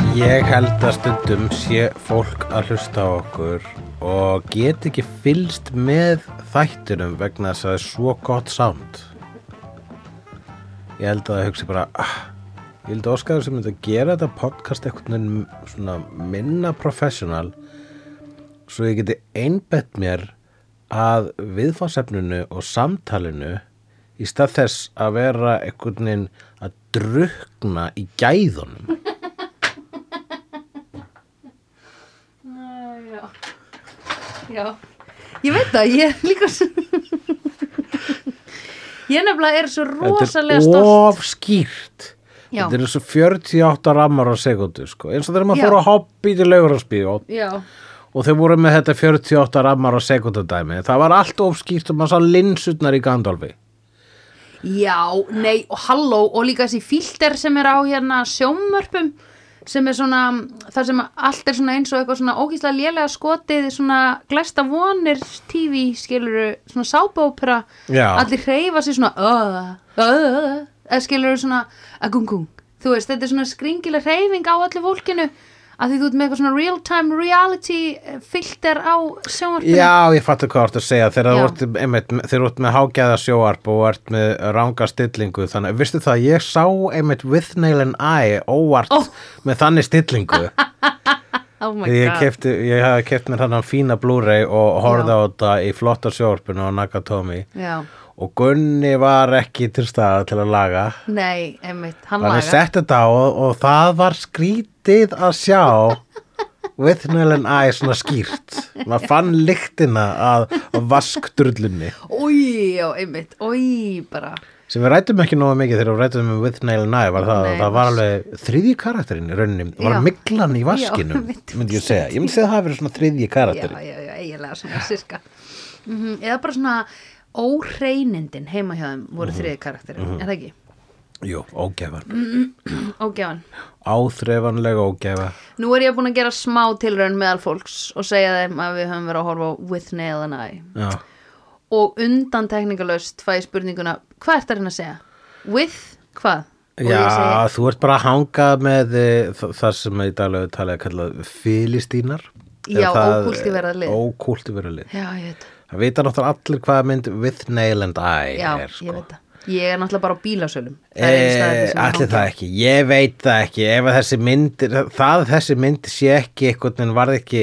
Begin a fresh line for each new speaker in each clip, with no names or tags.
held að stundum sé fólk að hlusta á okkur og get ekki fylst með þættinum vegna þess að það er svo gott sound. Ég held að það hugsi bara, ah, ég held að Óskar sem myndi að gera þetta podcast einhvern veginn svona minna professional svo ég geti einbett mér að viðfangsefninu og samtalinu í stað þess að vera einhvern veginn að drukna í gæðunum.
Æ, Já. Já. Ég veit það, ég er líka svo... Ég nefnilega er svo rosalega
Þetta
stolt.
er of skýrt.
Já.
Þetta er eins og 48 rammar á sekundu, sko. Eins og þegar maður
Já.
fór að hoppa í til lauguransbíó
Já,
og þau voru með þetta 48 rammar á sekundu dæmi. Það var allt of skýrt og maður sá linsutnar í Gandalfi.
já, nei, og halló, og líka þessi filter sem er á hérna sjómörpum, sem er svona, þar sem allt er svona eins og eitthvað svona ógíslega lélega skotið, svona glæsta vonir TV, skiluru, svona sábópera,
Já.
allir hreyfa sér svona, öða, öða, eða skiluru svona, agungung, þú veist, þetta er svona skringileg hreyfing á allir fólkinu, að því þú ert með eitthvað svona real-time reality eh, filter á sjómörpum.
Já, ég fattu hvað þú ert að segja þegar þú
Já.
ert, einmitt, þegar þú ert með hágæða sjóarp og ert með ranga stillingu þannig, vistu það, ég sá einmitt with nail and eye óvart
Ó.
með þannig stillingu
oh my
Þegar ég,
god.
kefti, ég hafði keft mér þannig fína Blu-ray og horfði
Já.
á þetta í flotta sjóarpinu á Nakatomi
Já.
og Gunni var ekki til staða til að laga
Nei, einmitt, hann
þannig
lagar
setti þetta á og, og það var skrítið að sjá with nail and eye svona skýrt maður fann lyktina að vaskdrullunni
Új, já, einmitt, új, bara
sem við rætum ekki nógu mikið þegar við rætum um With Nail Nye var það,
Nei,
það var alveg þriðji karakterinn í rauninni, var
Já.
miglan í vaskinum
einmitt.
myndi ég segja, ég myndi segja að það hafi verið svona þriðji
Já,
karakterinn
já, já, eiginlega svona sirka mm Eða bara svona óreinindin heima hjá þeim
Mhm.
voru þriði karakterin, er það ekki?
Jú, ógefan,
Ógjáðan
áþreifanlega ógefa
Nú er ég búin að gera smá tilraun meðal fólks og segja þeim að við höfum verið að horfa á With Nail and I
Já,
og undan teknikalöst fæ ég spurninguna Hvað ert að reyna að segja? With hvað? Og ég
já
segi,
þú ert bara að hanga með eh, þ- það sem í daglegu talið er kallað filistínar
Já, ókúltiveraða lið.
Ókúltiveraða lið
já, ég veit það
Það vita náttúrulega allir hvaða mynd With Nail and I
Já,
er sko.
ég veit það Ég er náttúrulega bara á bílasölum Það er einu staðurinn
Eh,
sem ég
Allir
hangi.
það ekki, ég veit það ekki ef að þessi mynd, það að þessi mynd sé ekki einhvern veginn varð ekki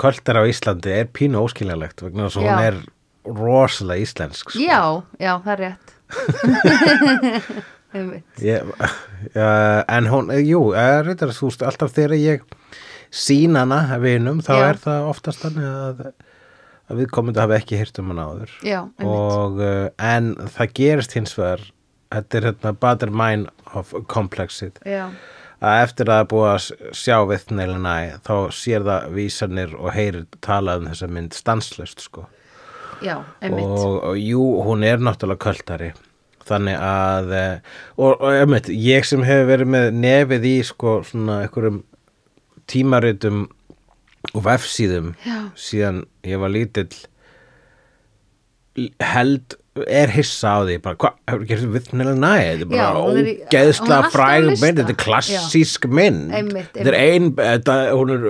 kvöldar á Íslandi er pínu óskiljanlegt vegna þess að hún
Já.
er rosalega íslensk sko.
Já, já, það er rétt Einmitt.
ég, uh, en hún, eh, jú, eh, reyndar þú veist alltaf þegar ég sín hana að vinum þá
Já.
er það oftast þannig að, að við komum hafi ekki hýrt um hana áður
Já, einmitt
og, uh, en það gerist hins vegar þetta er hérna Bader Mine of Complexit
Já,
að eftir að það er búið að s- sjá viðneilina þá sér það vísanir og heyrir talað um þessa mynd stanslust sko.
já, einmitt
og, og jú, hún er náttúrulega kvöldari þannig að eh, og, og einmitt, ég sem hefur verið með nefið í sko svona einhverjum tímaritum og vefsíðum
Já.
síðan ég var lítill l- held er hissa á því, bara hvað, hefur gerst viðnilega næði, þetta er
Já,
bara
hún er í- hún er
ógeðslega
alltaf á
fræg
lista.
mynd, þetta er
Já.
klassísk mynd
Einmitt,
þetta er ein, þetta, hún er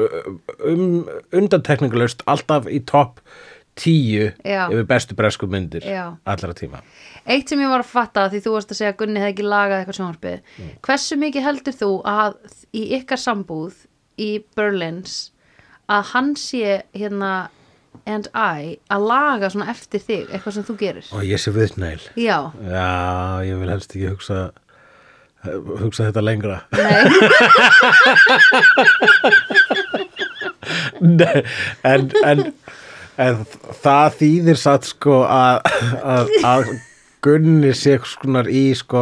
um, undantekningalust alltaf í topp tíu
Já.
yfir bestu bresku myndir
Já.
allra tíma
Eitt sem ég var að fatta því þú varst að segja að Gunni hefði ekki lagað eitthvað sjónvarpið Hversu mikið heldur þú að í ykkar sambúð í Berlins að hann sé hérna and I að laga svona eftir þig eitthvað sem þú gerir
og ég sé viðnæl
Já,
Já, ég vil helst ekki hugsa hugsa þetta lengra
nei,
Nei, en, en, en það þýðir satt sko að, að, að Gunni sé skonar í sko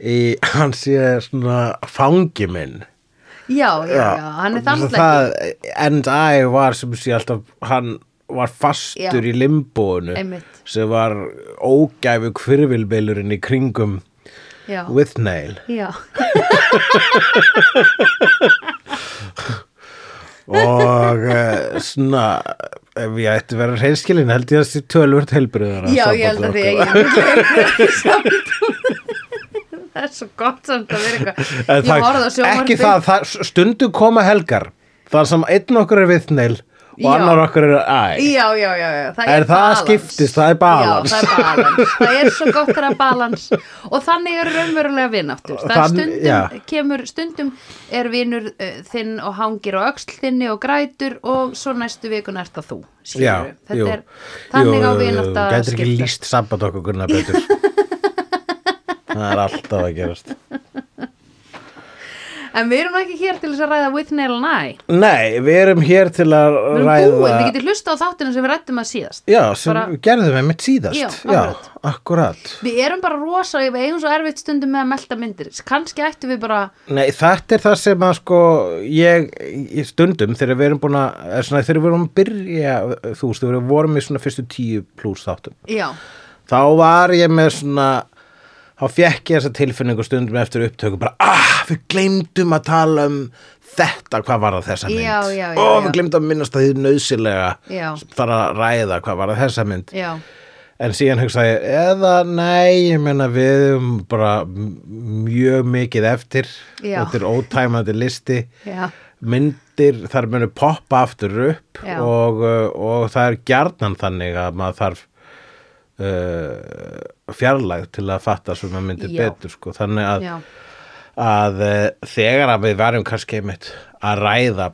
í, hann sé svona fangi minn
já, já, já, hann er þannig
það, and I var sem sé alltaf hann var fastur
Já.
í limbóinu
Einmitt.
sem var ógæfu kvirvilbeilurinn í kringum
Já,
with nail
já,
og uh, svona ef ég ætti að vera reynskilin held ég að þessi tölvört helbriðara
já, ég held að því að ég það er svo gott samt að vera
En
eitthvað
það-
ég horfði á sjónvarpi
ekki það, það stundu koma helgar þar sem einn okkur er viðnil og
Já.
annar okkur er æ
já, já, já, já, það
Er
er,
það
balans.
skiptist? Það er balans.
já, það er balans, það er svo gott þegar balans og þannig er raunverulega vináttur það
Þann-
er stundum,
já.
kemur, stundum er vinur uh, þinn og hangir á öxl þinni og grætur og svo næstu vikun er það þú skilurðu. þetta
jú.
er
Jú,
þannig
jú,
á
jú,
vinátt
þú
að
Gætir ekki líst sabbat okkur Gunnar betur Það er alltaf að gerast
en við erum ekki hér til þess að ræða with nail and I
Nei, við erum hér til að
við erum
ræða
búin, við getum hlusta á þáttina sem við rættum að síðast
Já, sem
Bara-
við gerðum við mitt síðast
Já,
akkurat,
við erum bara rosa, við eigum svo erfitt stundum með að melta myndir, kannski ættum við bara
Nei, þetta er það sem að sko ég, í stundum þegar við erum búin að eða svona, þegar við erum að byrja þú veist, þegar við vorum í svona fyrstu tíu pluss þáttum
já,
þá var ég með svona þá fekk ég þessa tilfinningu stundum eftir upptöku bara, ah, við gleymdum að tala um þetta, hvað var það þessa mynd
Já, já, já,
og
já.
við gleymdum að minnast að því nöðsilega
Já.
þar að ræða hvað var það þessa mynd
já
en síðan hugsaði ég, eða nei ég meina við um bara m- mjög mikið eftir
Já.
þetta er ótæmandi listi
Já.
myndir, þar munu poppa aftur upp
Já.
og, uh, og það er gjarnan þannig að maður þarf uh, fjarlæg til að fatta svona myndir
Já.
betur sko. þannig að,
Já.
að uh, þegar að við varum kannski einmitt að ræða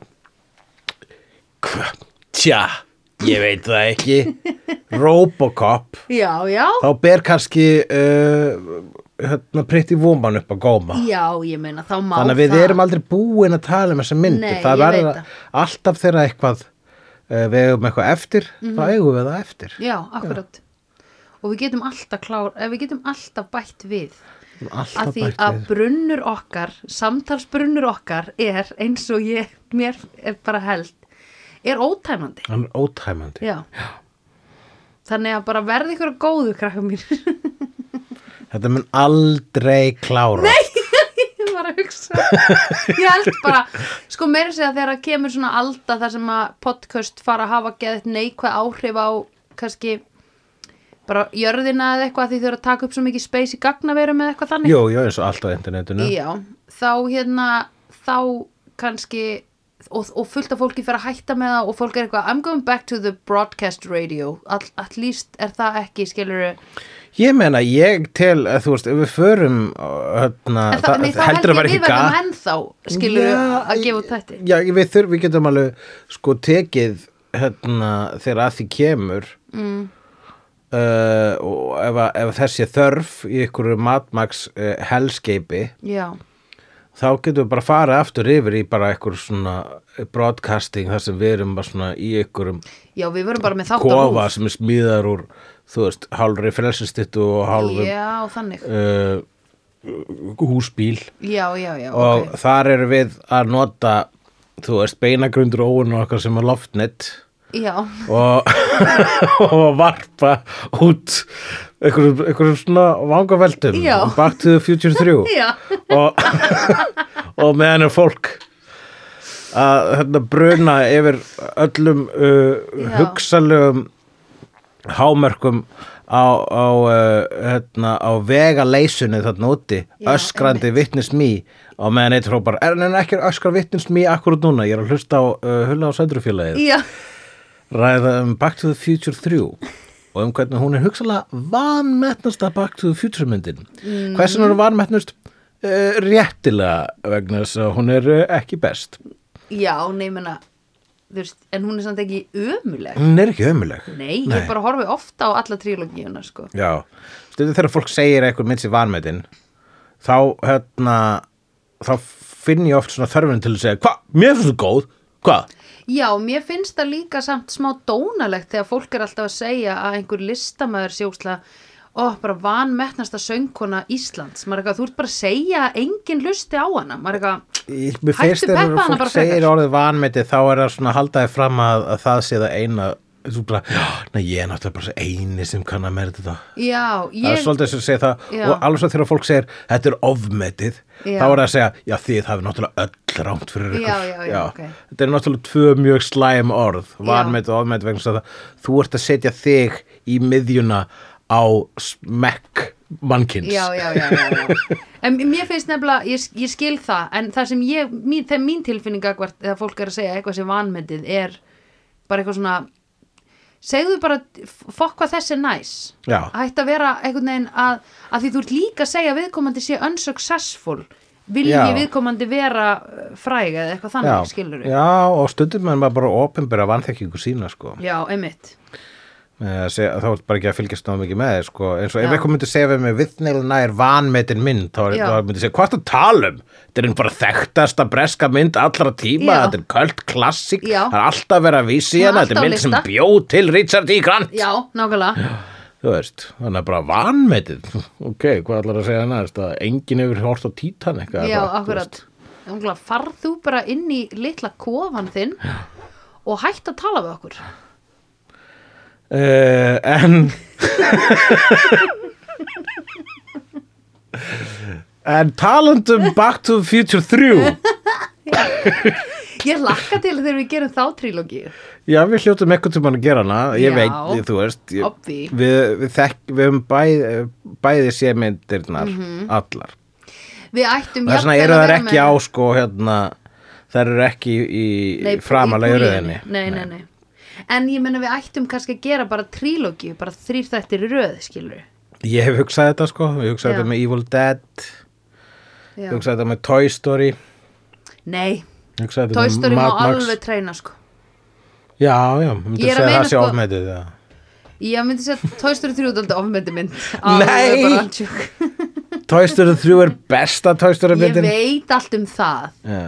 hva, tja ég veit það ekki Robocop
Já, já,
þá ber kannski uh, hérna, Pretty Woman upp að góma
já, ég meina þá má
þannig að við
það.
erum aldrei búin að tala um þessa myndir
Nei,
það
ég
verður
veit það.
alltaf þeirra eitthvað uh, við eigum eitthvað eftir þá
Mhm.
eigum við það eftir
Já, akkurat Og við getum alltaf klár, eh, við getum alltaf bætt við
alltaf
Af því
bætt
að
við
brunnur okkar, samtalsbrunnur okkar er eins og ég, mér er bara held Er ótæmandi
hann er ótæmandi
Já, Þannig að bara verði ykkur góðu krakkar mín
þetta mun aldrei klára Nei.
Ég var að hugsa Ég held bara, sko meira að segja þegar það kemur svona alda þar sem að podcast fara að hafa geðið neikvæð áhrif á kannski bara jörðina eða eitthvað því þau eru að taka upp svo mikið space í gagnaverum eða eitthvað þannig
jú, jú, eins og allt á internetinu
Já, þá hérna þá kannski og, og fullt af fólki fyrir að hætta með það og fólk er eitthvað, I'm going back to the broadcast radio all, at least er það ekki skilur
ég meina, ég tel að þú veist, ef við förum uh, hérna,
en það, nei, þá held
heldur
ég
að vera
við
ekki gaf
verðum ennþá skilur að gefa út þetta
já, við, þurf, við getum alveg sko tekið hérna, þegar að því kemur mm. og ef, að- ef þessi þörf í ykkur matmaks uh, helskeipi
Já,
þá getum við bara farið aftur yfir í bara ykkur svona broadcasting þar sem við erum bara svona í ykkurum
Já, við verðum bara með þátt á
kofa
rúf
sem er smíðar úr þú veist, hálfri frelsistittu og hálfum yeah.
Já, þannig
húsbíl
Já, já, já,
og
ok
þar eru við að nota þú veist, beinagrundur óun okkar sem er loftnet
Já,
og, og varpa út einhverjum, einhverjum svona vangaveldum
Já.
Back to the Future 3
já,
og, og meðan er fólk að hérna, bruna yfir öllum uh,
Já.
hugsalegum hámörkum á, á, uh, hérna, á vegaleysunni þarna úti
Já,
öskrandi
einmitt.
vitnis mý og meðan eitt hrópar, er hann ekki að öskra vitnis mý akkurat núna, ég er að hlusta á uh, hulla á sændrufélagið
já
ræða um Back to the Future 3 og um hvernig hún er hugsalega vanmetnasta Back to the Future myndin mm. hversin hún er vanmetnust uh, réttilega vegna þess að hún er uh, ekki best
Já, nei, menna Þú veist, en hún er samt ekki ömuleg
hún er ekki ömuleg
Nei, ég bara horfi ofta á alla trílógíuna, sko
já, stundum þegar fólk segir eitthvað mynd sér vanmetin þá hérna þá finn ég oft svona þörfin til að segja hvað, mér finnst þú góð, hvað
Já, mér finnst það líka samt smá dónalegt þegar fólk er alltaf að segja að einhver listamaður sjóksla ó, bara vanmetnasta söngkona Íslands maður er eitthvað, þú ert bara að segja að enginn lusti á hana, maður er eitthvað
Ég- Mér
Hættu
finnst þegar
peppa hana
fólk
bara frekar.
segir orðið vanmetið þá er það svona að halda þið fram að, að það sé það eina þú bara, já, nei, ég er náttúrulega bara svo eini sem kann að merða þetta
Já,
það er
ég,
svolítið sem segir það
Já.
og alveg svo þegar fólk segir þetta er ofmetið
Já.
þá er það að segja, já þið hafið náttúrulega öll rámt fyrir ykkur
Já, já, já, ok.
þetta er náttúrulega tvö mjög slæm orð vanmetið og ofmetið vegna þess að það- þú ert að setja þig í miðjuna á smekk mannkins
já, já, já, já, já. en mér finnst nefnilega, ég, ég skil það en það sem ég, mín, þegar mín tilfinninga þegar fólk er að segja eitthvað sem vanmetið er bara eitthvað svona segðu bara, fokk hvað þessi er næs
Já.
hætt að vera einhvern veginn að, að því þú ert líka að segja að viðkomandi sé unsuccessful vilji
Já.
viðkomandi vera uh, fræg eða eitthvað þannig,
já,
skilur við
já, og stundum er maður bara opinbera vanþekkingu sína sko.
já, einmitt
Eh, seg- þá er bara ekki að fylgjast náðum mikið með þér, sko. eins og
Já.
ef eitthvað myndi segja við mig viðneilna er vanmetin mynd þá, er-
Já.
þá myndi segja, hvað það tala um þetta er bara þekktasta breska mynd allra tíma,
Já.
þetta er köld klassik
Já.
það er alltaf verið að vísi
Hún er
hérna þetta
alltaf á
er mynd sem
lista.
bjó til Richard E. Grant
já, nákvæmlega
þú veist, þannig að bara vanmetið ok, hvað ætlar að segja næst að enginn hefur hort á Titanic eða
Já,
eitthvað, þú veist.
akkurat Ungla, farð þú bara inn í litla kofan þinn og hætt að tala við okkur
uh, en en talandum Back to the Future 3
Ég lakka til þegar við gerum þá trílógi
já, við hljótum eitthvað tímann að gera hana ég
Já,
veit, þú veist ég,
obvi.
við, við, þekk, við höfum bæð, bæði sémyndirnar allar
Við ættum
og þess vegna
jafnvel
eru
Mhm.
þær
að vera
ekki á
með-
sko hérna þær eru ekki í,
Nei,
í framalega
í
röðinni
búlíunni. nei, nei, nei. En ég menna við ættum kannski að gera bara trílógi bara þrýr þættir í röð, skilur
Ég hef hugsað þetta sko, ég hugsaði
Já.
þetta með Evil Dead,
Já.
ég hugsaði þetta með Toy Story,
Nei,
ég hugsaði þetta
Toy
með
Story má
Mad Max.
alveg treyna sko
Já, já, myndi
Ég er
segja
að meina,
það sé
sko-
ofmetið það.
Ég myndi segja að Toy Story 3 er aldrei ofmendi mynd
Nei!
bara tjúk.
Toy Story 3 er besta Toy Story
Ég
myndin.
veit allt um það
Já,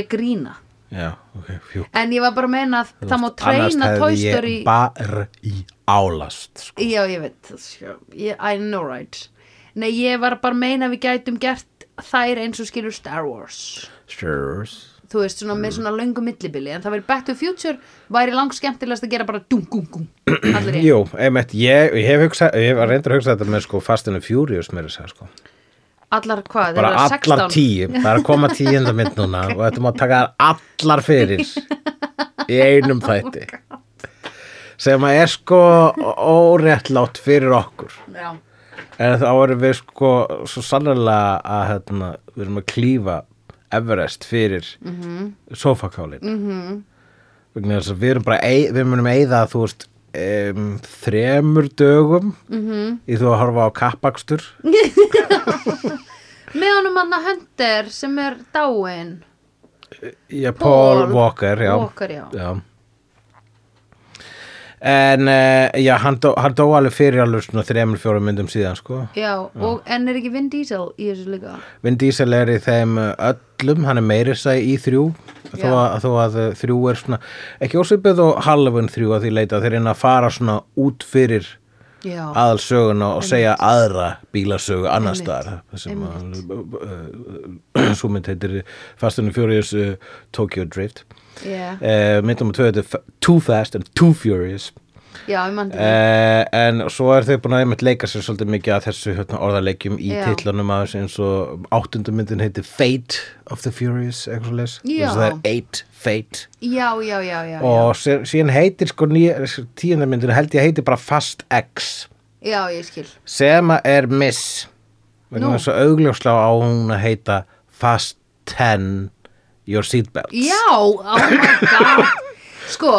Ég grína
já, ok, fjú.
En ég var bara að meina að það má treyna Toy Story
Annars hefði ég bara í álast, sko.
Já, ég veit það, sko. Ég- I know right Nei, ég var bara að meina að við gætum gert þær eins og skilur Star Wars
Sure.
Þú veist, svona
Mm.
með svona löngu millibili En það væri Back to the Future væri langt skemmtilegast að gera bara dung, dung, dung Allir ég
Jú, einmitt, ég, ég hef hugsað, ég hef reyndur að hugsa þetta með sko Fast and the Furious með þess að segja, sko.
Allar hvað, þeir
Bara
eru
allar
16.
tíu, það er að koma tíunda mynd núna og þetta má taka þær allar fyrir í
Oh
einum þætti sem að er sko óréttlátt fyrir okkur
Já,
en þá erum við sko svo sannlega að hérna, við erum að klífa Everest fyrir mm
Mhm.
-hmm. sofakálin mm -hmm. þess að við erum bara ei- við munum eigða þú veist um, þremur dögum mm -hmm.
Mhm.
í þú að horfa á kappakstur
Mm. með honum manna Hunter sem er dáin
Já, Paul,
Paul
Walker, já.
Walker, já.
En, uh, já, hann dó, hann dó alveg fyrir alveg svona þremur, fjórum myndum síðan, sko.
Já, og en er ekki Vin Diesel í þessu líka
Vin Diesel er í þeim eh, öllum, hann er meiri sæ í þrjú, þó
Já.
að, þó að eh, þrjú er svona, ekki ósvipið og Halloween þrjú að því leita, þeir reyna að fara svona út fyrir
Já,
aðalsöguna og segja aðra bílasögu annar staðar Það sem uh, að svo mynd heitir Fast and Furious uh, Tokyo Drift
yeah.
uh, mynd nummer 2 þetta er F- Too Fast and Too Furious
já, ég mandi
uh, en svo er þau búin að einmitt leika sér svolítið mikið að þessu hérna, orðarleikjum í
Já.
titlunum aðeins eins og áttundumyndin heitir Fate of the Furious eitthvað leis,
Já.
það er Eight Fate
Já, já, já, já, já.
og sér, síðan heitir sko tíundamyndin held ég heitir bara Fast X
Já, ég skil.
sem að er Miss
Nú.
vegna þess að augljóslega á hún að heita Fast 10 Your Seatbelts
Já, oh my god. Sko,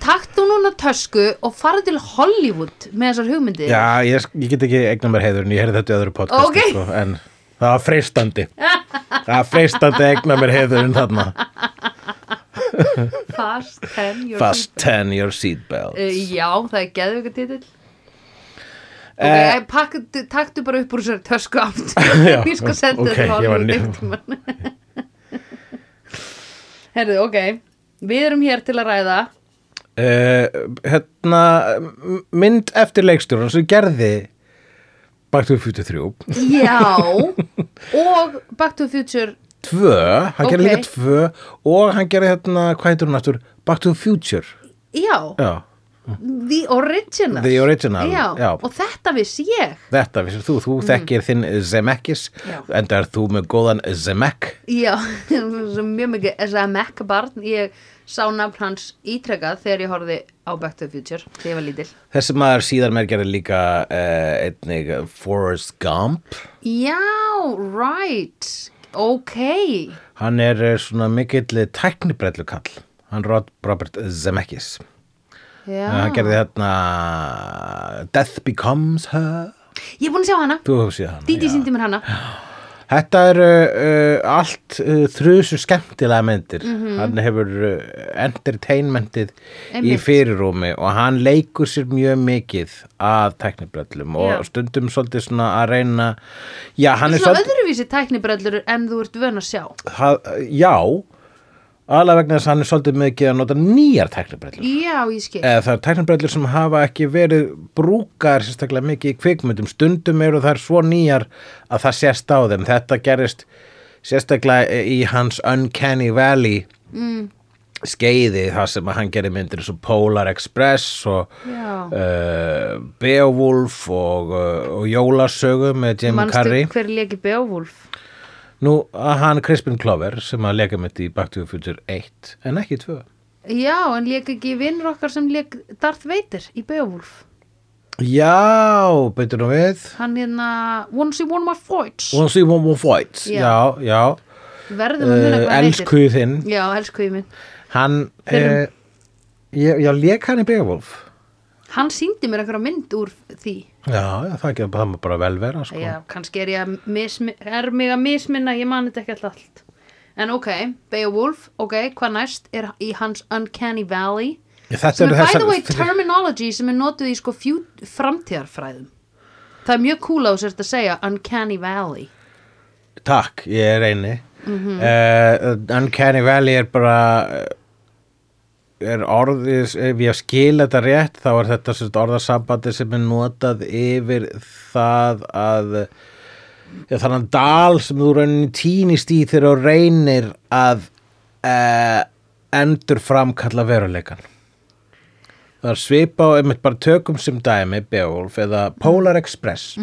takt þú núna tösku og farðu til Hollywood með þessar hugmyndir.
Já, ég, ég get ekki eigna mér heiður en ég heyrði þetta í öðru podcast
Ókei.
sko, en það var freistandi það var freistandi að eigna mér heiður en þarna
Fast 10 your
Fast
seatbelt.
10 your seatbelt
Uh, já, það er geðvika titill. Ok,
Eh.
uh, pakk, taktu bara upp úr þessari tösku aftur.
Já,
ég skal senda
ok,
þetta til
ég var
Hollywood
ný-
einhvern tímann. Herðu, ok. Við erum hér til að ræða.
uh, Hérna m- mynd eftir leikstjórun sem gerði Back to the Future 3
Já. og Back to the Future.
Tvö, hann gerði
Ókei.
líka tvö og hann gerði hérna, hvað heitur hún aftur Back to the Future
Já.
Já,
The Original,
The Original,
já,
já.
og þetta viss ég
Þetta, vissir þú, þú þekkir þinn Zemeckis
Já.
en það er þú með góðan Zemeck
Já, svo mjög mikið Zemeck barn, ég sá nafn hans ítrekað þegar ég horfði á Back to the Future þegar ég var lítil
Þessi maður síðar mér gerði líka uh, einnig Forrest Gump
Já, right, ok
Hann er eh, svona mikill tæknibrellu kall Hann Rod Robert Zemeckis
Já,
Hann gerði hérna Death Becomes Her
ég er búin að sjá hana
Þú hefur séð hana
Díti
já.
síndi mér hana
Þetta eru uh, allt uh, þrjusu skemmtilega myndir.
Mhm.
Hann hefur uh, entertainmentið í
Einmitt.
fyrirrúmi og hann leikur sér mjög mikið að teknibrellum
Já.
og stundum svolítið svona að reyna Já, hann er
Svona
svolítið
öðruvísi tæknibrellur en þú ert vön að sjá
ha, Já, alveg vegna þess að hann er svolítið mikið að nota nýjar teknibrellur
Já, ég skil
eða það er tæknibrellur sem hafa ekki verið brúkar sérstaklega mikið í kvikmyndum stundum eru þær svo nýjar að það sést á þeim þetta gerist sérstaklega í hans Uncanny Valley mm. skeiði það sem að hann gerir myndir eins og Polar Express og
Já.
uh, Beowulf og, uh, og Jólasögu með Jim Carrey
hver leki Beowulf?
nú að hann Crispin Glover sem að leka mynd í Back to the Future 1 en ekki 2
Já, en leik ekki vinnur okkar sem leik Darth Vader í Beowulf
já, beitur nú við
Hann hérna, once you won my fights
Wanna see one more fight
Já.
Já, já,
Verðum að muna
uh,
hvað hann heitir
elskuð þinn
Já, elsku ég minn
Hann uh,
Fyrrum.
ég, Já, lék hann í Beowulf
Hann síndi mér einhverja mynd úr því
Já, já það, getur, það má bara vel vera sko.
Já, kannski er, ég að mismi, er mig að misminna, ég mani þetta ekki alltaf allt En ok, Beowulf, ok, hvað næst er í hans Uncanny Valley
Þetta
sem
eru
er by
þessar
the way
þri-
terminology sem er notuð í sko fjú, framtíðarfræðum það er mjög cool á sér að segja Uncanny Valley
Takk, ég er eini mm Uncanny Valley er bara eh, er orðið ef ég skil þetta rétt þá er þetta sérst, orðasambandi sem er notað yfir það að ja, þannig dal sem þú rauninni týnist í þegar þú reynir að uh, endur framkalla veruleikan það er svipa á einmitt bara tökum sem dæmi Beowulf eða Polar Express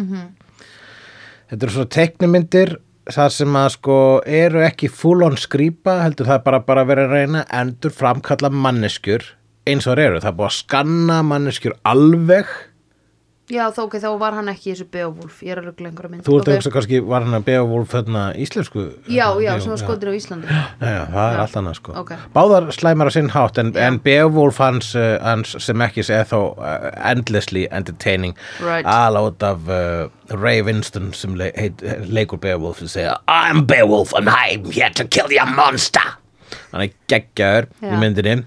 Þetta eru svona teknimyndir þar sem að sko eru ekki full on skrýpa heldur það er bara, bara verið að reyna að endur framkalla manneskjur eins og þær eru, það er búið að skanna manneskjur alveg
já þá ok, þá var hann ekki í þessu Beowulf ég er að ruggla einhverja mynd
þú ert að
Ok.
hugsa kannski var hann að Beowulf þarna íslensku hérna,
já, já, sko
Beowulf,
sem var skotir á Íslandi
Já, já, það er
Já.
allt annað sko
Ok.
Báðar slæmar á sinn hátt en,
Já.
en Beowulf hans, uh, hans sem ekki er þó uh, endlessly entertaining
Right.
ala út af uh, Ray Winston sem le heit, leikur Beowulf sem segja I'm Beowulf and I'm here to kill your monster Hann er geggjaður
Já.
í myndinni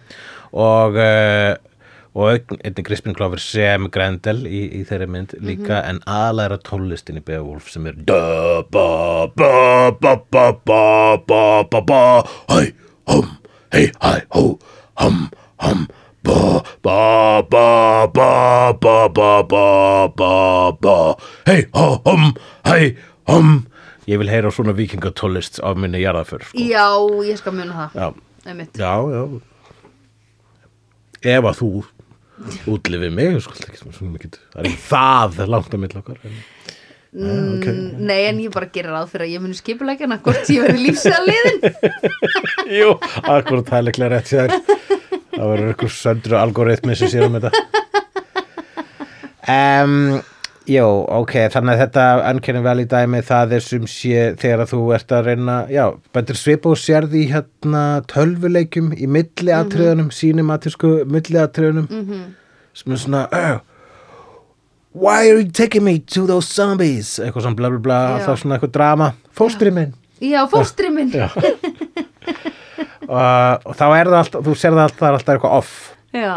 og uh, og einnig Crispin Glover sem Grendel í, í þeirri mynd líka en aðalega er að tónlistin í Beowulf sem er da ba ba ba ba ba ba ba ba hei hum hei hei hó hum hum ba ba ba ba ba ba ba ba ba hei hó hum hei hum ég vil heyra svona vikingatólist af minni jarðaför sko.
já, ég skal muna það
já
Einmitt.
Já, já Ef að þú útlifið mig sko, það er ekki svona mikið það er ekki það langt að milla okkar Ah,
Mm, nei, en ég bara gerir ráð fyrir að ég muni skipulegja hana hvort ég verið lífsæða liðin
Jú, akkur það er leiklega rétt sér það verður ykkur söndru algoritmi sem sér um þetta um, Jú, ok þannig að þetta ankennum vel í dæmi það er sem sé þegar að þú ert að reyna já, bættir svipa og sérði í hérna tölvuleikjum í milliatriðunum mm -hmm.
Mhm.
sínimatísku milliatriðunum sem er svona uh, Why are you taking me to those zombies? Eitthvað svona bla bla bla,
Já.
alltaf svona eitthvað drama Fóstri minn
já, fóstri minn já,
Já. uh, og þá er það alltaf, þú sér það alltaf, það er alltaf eitthvað off
já.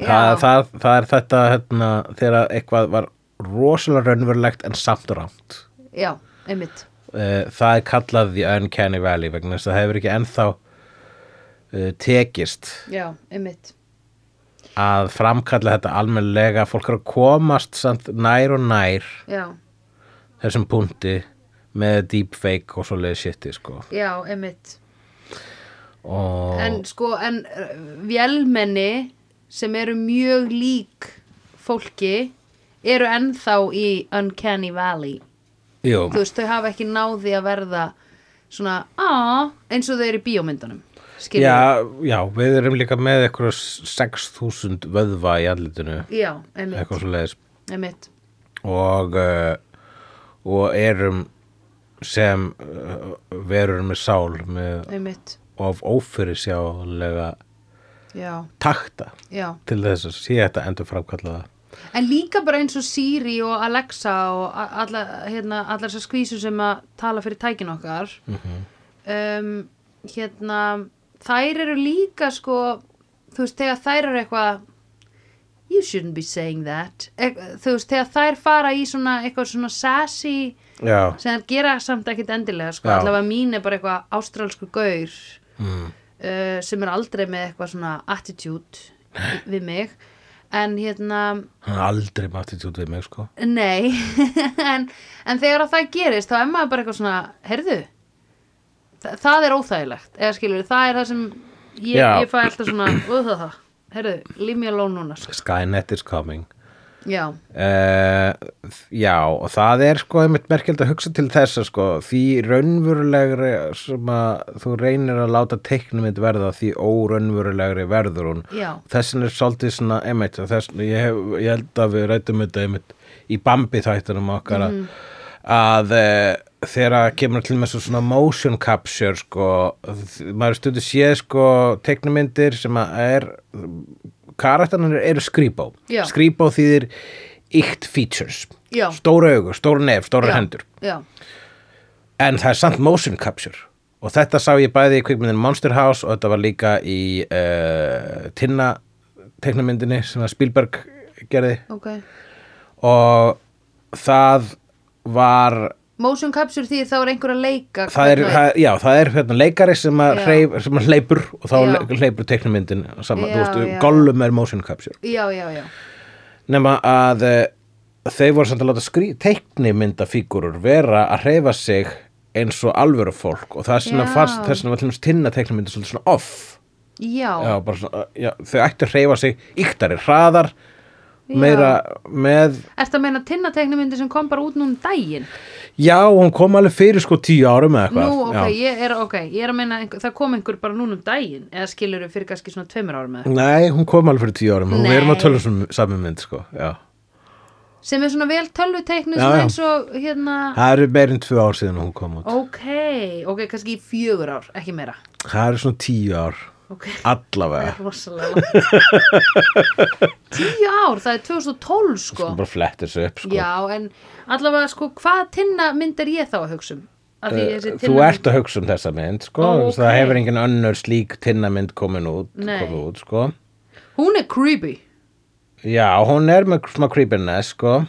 það, það, það er þetta hérna, þegar eitthvað var rosalega raunverulegt en samt rámt
já einmitt
uh, það er kallað The Uncanny Valley vegna þess að það hefur ekki ennþá uh, tekist
já, einmitt
að framkalla þetta almennilega fólk er að komast samt nær og nær
já,
þessum punkti með deepfake og svoleiði shiti sko
já, einmitt
og
en sko, en uh, eh, vélmenni sem eru mjög lík fólki eru ennþá í Uncanny Valley
Jú,
þú veist, þau hafa ekki náði að verða svona, á, eins og þau eru í bíómyndunum skilur
já, já, við erum líka með eitthvað 6.000 vöðva í andlitinu
já einmitt,
eitthvað svo leiðis
einmitt
og, uh, og erum sem uh, verur með sál með
einmitt,
of ófyrirsjálega
já,
takta
já
til þess að sé þetta endur framkalla það
En líka bara eins og Siri og Alexa og a- alla, hérna, allar þessar skvísur sem að tala fyrir tækin okkar um, hérna þær eru líka sko þú veist þegar þær eru eitthvað you shouldn't be saying that e þú veist þegar þær fara í svona eitthvað svona sassy
Já,
sem þær gera samt ekkit endilega sko
Já.
allavega mín er bara eitthvað ástralsku gaur uh, sem er aldrei með eitthvað svona attitude í- við mig en hérna
hann er aldrei með attitút við mig sko
Nei, en, en þegar að það gerist þá er maður bara eitthvað svona, heyrðu, það, það er óþægilegt, eða skilur, það er það sem ég,
Já.
ég fæ alltaf svona, "Ugh, það, það, heyrðu, leave me alone núna, sko.
Skynet is coming
Já,
Uh, já, og það er sko einmitt merkjöld að hugsa til þessa sko því raunverulegri sem að þú reynir að láta teiknumind verða því óraunverulegri verður hún
Já. þessin
þessin er svolítið svona einmitt og þess, ég, hef, ég held að við rættum þetta einmitt í Bambi þættunum okkar
Mhm.
mm. að eh, þegar að kemur til með svo svona motion capture sko, þ- maður stundu séð sko teiknumyndir sem að er karakterinn eru skrýbó
Já.
skrýbó þýðir ykt features
Já.
stóra augu, stóra nef, stóra
já,
hendur
já,
en það er samt motion capture og þetta sá ég bæði í kvikmyndin Monster House og þetta var líka í uh, Tinna teiknumyndinni sem að Spielberg gerði
ok.
og það var
Motion capture því þá er einhver að leika.
það er,
hvernig-
það, já, það er hérna, leikari sem að,
Já.
hreif, sem að hleypur og þá
Já.
le- hleypur teiknumyndin saman,
Já,
þú veist,
já.
gollum er motion capture
Já, já, já,
nema að eh, þau voru samt að láta skrí, teiknimyndafígurur vera að hreyfa sig eins og alvöru fólk og það er svona
Já.
fast, þess að var til þess tinna teiknimynda svolítið svona off
já,
já, bara svona, já, þau ættu að hreyfa sig yktari, hraðar meira með,
Ertu að meina tinnateknumyndi sem kom bara út núna um daginn?
já, hún kom alveg fyrir sko tíu árum eða eitthvað
Nú, ok,
já.
ég er, ok, ég er að meina, einhver, það kom einhver bara núna um daginn, eða skilur fyrir kannski svona tveimur árum eða eitthvað.
Nei, hún kom alveg fyrir tíu árum hún
Nei.
er maður tölum sem saman mynd sko, já
sem er svona vel tölvuteiknu
Já,
svona
já.
eins og hérna
Það eru meirinn tvö ár síðan hún kom út
ok, ok, kannski í fjögur ár ekki meira,
Það eru svona tíu ár
ok það
allavega,
er rosalega langt. tíu ár, það er 2012 sko,
hún bara flettir þessu upp sko.
já, en allavega sko, hvað tinna mynd er ég þá að hugsa um Af því
Eh,
þessi
Þú
tinnamynd-
ert að hugsa um þessa mynd sko.
Ó,
það
ókei.
hefur engin önnur slík tinnamynd komin út,
Nei.
komin út sko.
hún er creepy
Já, hún er með smá creepiness sko.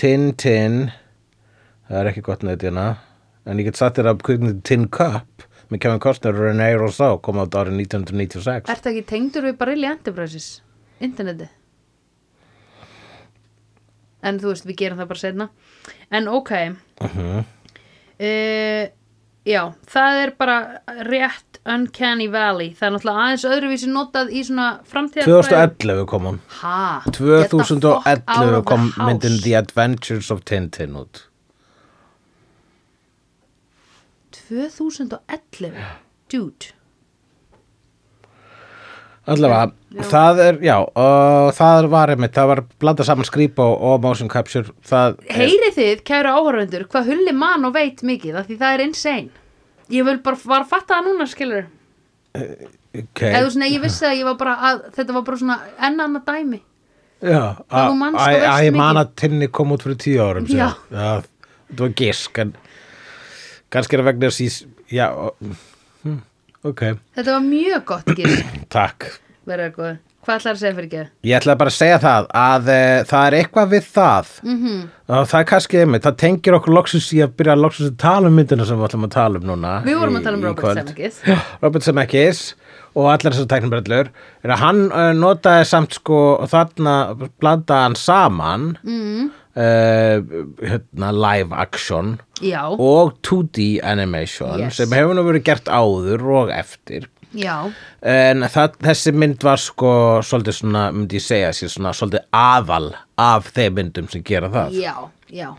Tin Tin það er ekki gott neitt hérna en ég get satt þér að kvikmynd Tin Cup með Kevin Costner og René Rousseau kom át árið 1996
ert það ekki tengdur við Barilli Enterprises interneti en þú veist, við gerum það bara setna en ok uh
Mhm.
já, það er bara rétt Uncanny Valley það er náttúrulega aðeins öðruvísi notað í svona framtíðar
2011 kom hún
ha, get the fuck out
2011
of
kom
the house.
myndin The Adventures of Tintin út
2011 dude,
Allavega, það er, já, og það var einmitt, það var blandað saman skrýpa og, og motion capture, það er-
heyrið þið kæru áhörfundur hvað hulli mann og veit mikið af því það er insane ég vil bara, var að fatta það núna skilur
okay.
eða svona, ég vissi að ég var bara að, þetta var bara svona enn annað dæmi
Já,
þú
að-
manst
að
og veist
að ég man
mikið.
að tinni kom út fyrir tíu árum
Já.
síðan. já það var gisk en kannski er það vegna þess í já, og- hm, ok,
þetta var mjög gott gísk
takk
verður eitthvað, hvað ætlar að segja fyrir ekki
ég ætlaði bara að segja það að e, það er eitthvað við það
Mhm.
-hmm. og það er kannski einmitt, það tengir okkur loksins í að byrja að loksins að tala um myndina sem við ætlum að tala um núna
Við vorum að
í-
tala um
í
Robert
kvöld.
Zemeckis.
Já, Robert Zemeckis og allar þessar tæknumbrellur er að hann uh, notaði samt sko þarna blandaði hann saman
Mhm.
mm. hérna, live action
já,
og 2D animation
Yes.
sem hefur nú verið gert áður og eftir
já,
en það, þessi mynd var sko svolítið svona, myndi ég segja sér svona svolítið aðal af þeim myndum sem gera það
já, já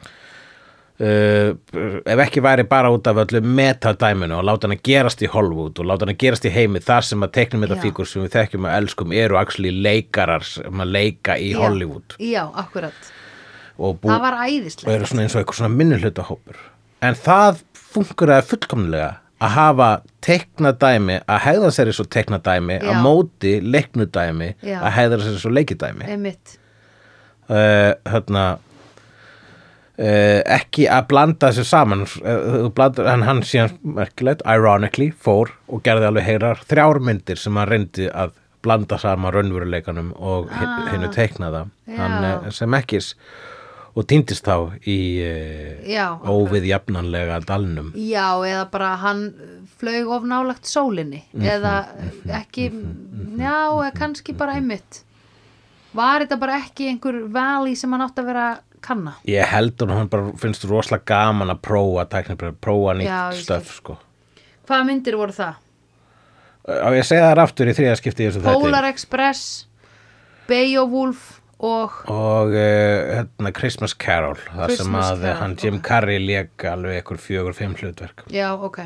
uh, ef ekki væri bara út af öllu metadæminu og láta hann að gerast í Hollywood og láta hann að gerast í heimi þar sem að teiknum þetta
Já.
fíkur sem við þekkjum og elskum eru axli leikarar sem að leika í
já.
Hollywood
já, akkurat,
og, bú,
það var
og
æðislega
eru svona eins og eitthvað svona minnulöta hópur en það funguraði fullkomlega að hafa teiknadæmi að hegða sér eins og teiknadæmi
Já.
að móti leiknudæmi
Já.
að hegða sér eins og leikidæmi
einmitt,
uh, hérna Uh, ekki að blanda þessu saman uh, blandar, en hann síðan merkilegt, ironically, fór og gerði alveg heyrar þrjár myndir sem hann reyndi að blanda saman raunveruleikanum og ah, hinnu teiknaða
Já.
hann, eh, sem ekkis og týndist þá í uh,
já
óviðjafnanlega dalnum
Já, eða bara hann flög of nálagt sólinni
Mhm.
eða ekki, já, eða kannski bara einmitt Var þetta bara ekki einhver vali sem hann átti að vera að kanna?
ég held hún hann bara finnst rosalega gaman að prófa tæknibrið, prófa
Já, ég
nýtt
skil.
stöf sko.
Hvaða myndir voru það?
á ég að segja það aftur í þriðaskipti
Polar Express, Beowulf og
og uh, hérna Christmas Carol þar sem
Christmas
að eh,
Carol,
hann Jim Carrey lék alveg einhver fjögur fimm hlutverk
Já, ok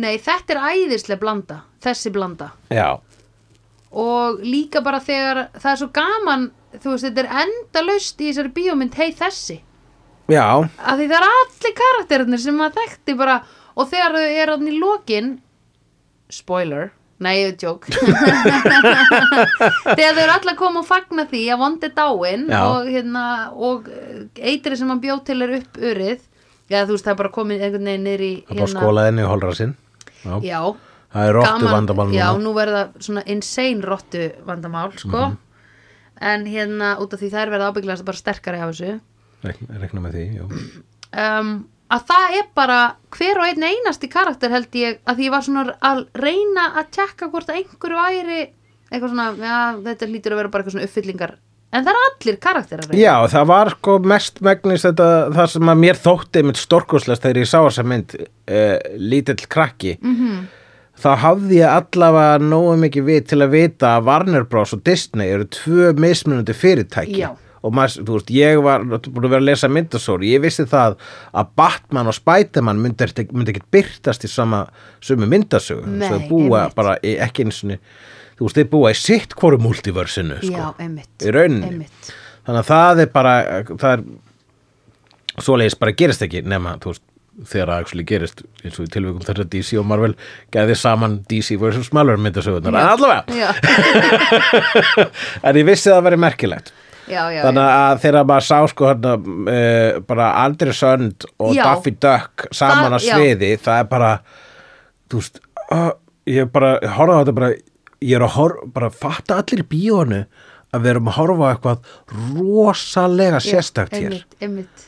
Nei, þetta er æðislega blanda þessi blanda
já,
og líka bara þegar það er svo gaman þú veist, þetta er endalaust í þessari bíómynd hei þessi
já,
að því það er allir karakterinir sem maður þekkti bara og þegar þau er hann í lokin spoiler, nei ég er tjók þegar þau eru allir að koma og fagna því að vondi dáin
Já.
og, hérna, og eitri sem hann bjóð til er upp urið já þú veist það er bara komið einhvern veginn niður í
það bara skólaði henni í holra sinn já.
Hérna. já,
það er róttu
gaman-
vandamál
já,
núna Mhm.
nú verða svona insane rottu vandamál sko en hérna út af því þær verða ábyggilega bara sterkari af þessu
Rekna, rekna með því, jú.
um, að það er bara hver og einn einasti karakter held ég að því ég var svona að reyna að tjekka hvort að einhver væri eitthvað svona, já þetta hlýtur að vera bara eitthvað svona uppfyllingar en það er allir karakterar
já, það var sko mest megnis þetta, það sem að mér þótti mitt stórkoslega þegar ég sá þessa mynd uh, lítill krakki
Mhm.
-hmm. þá hafði ég allavega nógu mikið við til að vita að Warner Bros og Disney eru tvö mismunandi fyrirtæki
Já.
og maður, þú veist, ég var búin að vera að lesa myndasóri, ég vissi það að Batman og Spiderman myndi, ekkert- myndi ekkert byrtast í sama sömu myndasögu,
Nei,
þau búa
einmitt.
bara í, ekki eins og þú veist, þau búa í sitt hvoru multiversinu, sko,
já einmitt,
í rauninni
einmitt.
þannig að það er bara það er svoleiðis bara gerist ekki nema þú veist þegar það actually gerist eins og í tilvikum þess að DC og Marvel gæði saman DC vs. Marvel myndasögunar en allavega,
já,
en ég vissi að það veri merkilegt
já, já, já.
þannig að þegar maður sá sko hérna, uh, bara Andri Sönd og
Já.
Daffy Duck saman
Það-
á sviði það er bara þú veist, uh, ég bara horfa á þetta bara, ég er að horfa bara fatta allir í bíónu að við erum að horfa á eitthvað rosalega sérstakt hér
einmitt, einmitt.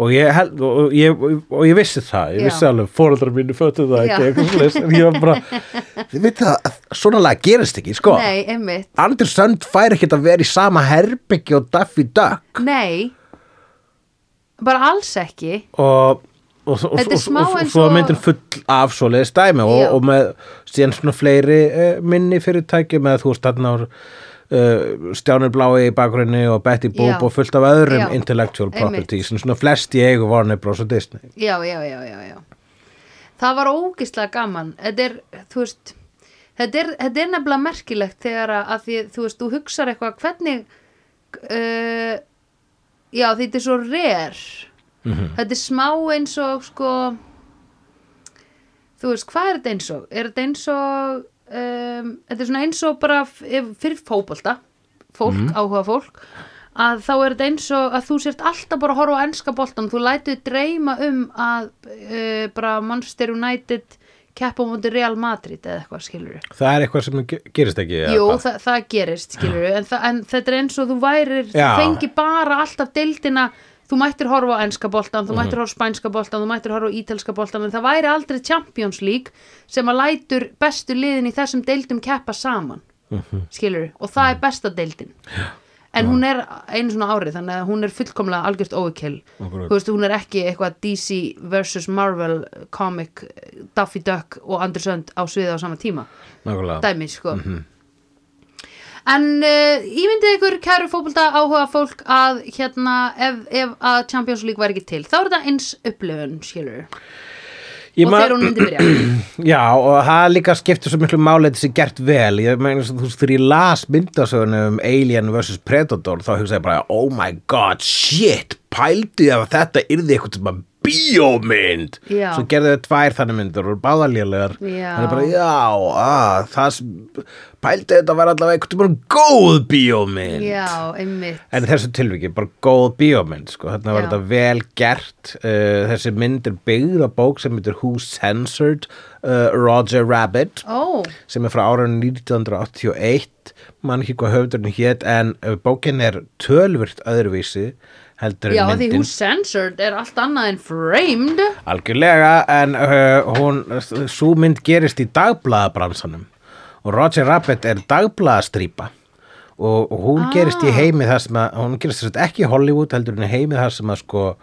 og ég, held, og, og ég, og ég vissi það ég
Já.
vissi alveg, fóreldrar mínu föttu það
Já.
ekki eitthvað slags, en ég var bara þið veit það, að svona lag gerist ekki sko,
nei, einmitt
Andri Sönd fær ekkert að vera í sama herbyggja og Daffy Duck
nei bara alls ekki
og og, og, og,
Þetta er smá
og, og
eins
svo
og-
er myndin full af svoleiðis dæmi og,
Já.
og með síðan svona fleiri uh, minni fyrirtæki með þú veist þarna var uh, Stjánur Blái í bakgrunni og Betty Boop
Já.
og fullt af öðrum
Já.
intellectual
Einmitt.
properties sem svona flest í eigu Warner Bros og Disney
já, já, já, já, já. Það var ógislega gaman. Þetta er, þú veist, þetta er, þetta er nefnilega merkilegt þegar að, að því, þú veist, þú hugsar eitthvað hvernig, uh, já, því þetta er svo rare. Þetta er smá eins og, sko, þú veist, hvað er þetta eins og? Er þetta eins og, um, þetta er svona eins og bara f- ef- fyrir fótbolta, fólk, áhuga fólk, að þá er þetta eins og að þú sért alltaf bara að horfa á enska boltan, þú lætið dreyma um að uh, bara Manchester United keppa á móti Real Madrid eða eitthvað skilur
það er eitthvað sem ge- gerist ekki eða
Jú,
hvað?
það, það gerist skilur en, þa- en þetta er eins og þú værir þú
Já.
fengi bara alltaf deildina þú mættir horfa á enska boltan,
Mhm.
þú mættir horfa á spænska boltan, þú mættir horfa á ítalska boltan en það væri aldrei Champions League sem að lætur
Mhm.
bestu liðin í þessum deildum keppa saman, skilur og það er besta deildin en hún er einu svona ári þannig að hún er fullkomlega algjört óvikill
Akkurat.
þú veist, hún er ekki eitthvað DC versus Marvel comic Daffy Duck og Andrew Sund á sviði á sama tíma
nákvæmlega
dæmi sko
Mhm.
en uh, ímyndið ykkur kæru fótbolta áhuga fólk að hérna ef, ef að Champions League væri ekki til þá er þetta eins upplöfun skilur
Ég
og
man-
þegar hún myndi byrja
Já, og það líka skiptir svo miklu máli að þetta sé gert vel. Ég meina svo, þú veist, þegar ég las myndasögunum um Alien vs. Predator, þá hugsaði ég bara, oh my god, shit, pældu ég að þetta yrði eitthvað sem að bíómynd.
Já.
Svo gerðu þau tvær þannig myndir og báðalélegar.
Já.
Það er bara, já, að, það sem, pældu þetta var allavega eitthvað sem bara góð bíómynd.
já, einmitt
En í þessu tilviki, bara góð bíómynd, sko, þarna var
Já.
þetta vel gert, uh, þessi mynd er byggð á bók sem heitir Who Censored uh, Roger Rabbit,
ó,
sem er frá árunum 1981, mann ekki hvað höfðurinn hét, en uh, bókin er tölvört öðruvísi, heldur
já
en
því
myndin.
hún censored er allt annað en framed
Algjörlega, en uh, hún, svo mynd gerist í dagbladabransanum og Roger Rabbit er dagbladastrípa og, og hún
Ah.
gerist í heimi það sem að, hún gerist þess að ekki í Hollywood heldur en í heimi það sem að sko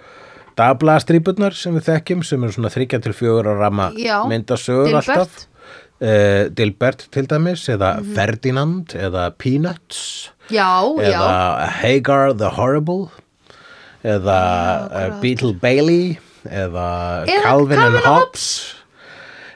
dagbladastrípunar sem við þekkjum sem eru svona 3 til 4 ára ramma
Já,
myndasögur
Dilbert. Mhm.
alltaf uh, Dilbert til dæmis eða Ferdinand eða Peanuts
já, já,
eða Hagar the Horrible eða uh, Beetle Bailey eða Calvin
Eða
and
Calvin and
Hobbes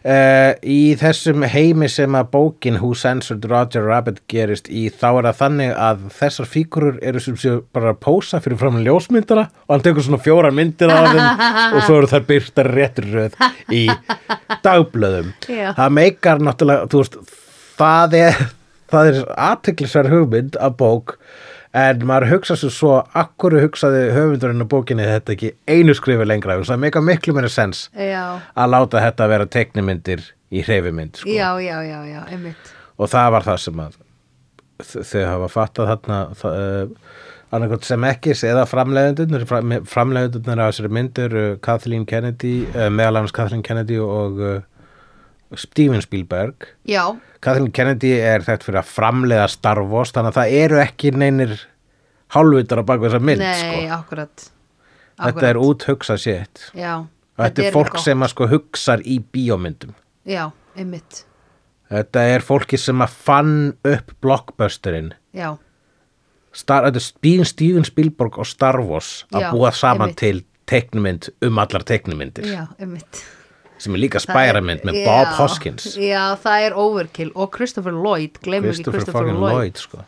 Uh, í þessum heimi sem að bókin Who Censored Roger Rabbit gerist í þá er það þannig að þessar fíkurur eru sem séu bara að pósa fyrir fram ljósmyndara og hann tekur svona fjórar myndir af þeim og svo eru þær byrtar réttur röð í dagblöðum
Já.
það meikar náttúrulega þú veist, það er það er aðteklisverð hugmynd af bók en maður hugsa sér svo akkur hugsaði höfundurinn á bókinni þetta ekki einu skrifi lengra vegna þess að það meikar miklu meira sens
já
að láta þetta vera teiknimyndir í hreyfimynd sko.
já, já, já, já, einmitt
og það var það sem að þ- þau hafa fattað þarna það, uh, annarkot sem ekki eða framleiðundunir framleiðundunir á þessari myndir uh, Kathleen Kennedy, uh, meðal annars Kathleen Kennedy og uh, Steven Spielberg
já,
Kathleen Kennedy er þekkt fyrir að framleiða Star Wars þannig að það eru ekki neinir hálfvitar á baku þessa mynd
nei,
sko.
akkurat
þetta er úthugsað sétt
já,
og þetta er fólk sem að sko hugsar í bíómyndum
já, einmitt,
þetta er fólki sem að fann upp blockbusterinn
já
Star, þetta er Steven, Steven Spielberg og Star Wars að
Já,
búa saman
einmitt.
til teiknumynd um allar teiknumyndir
já, einmitt
sem er líka
Það er-
spæramynd með Bob
já,
Hoskins
Já, það er overkill og Christopher Lloyd, gleymum ekki
Christopher
Christopher
fucking
Lloyd,
Lloyd sko.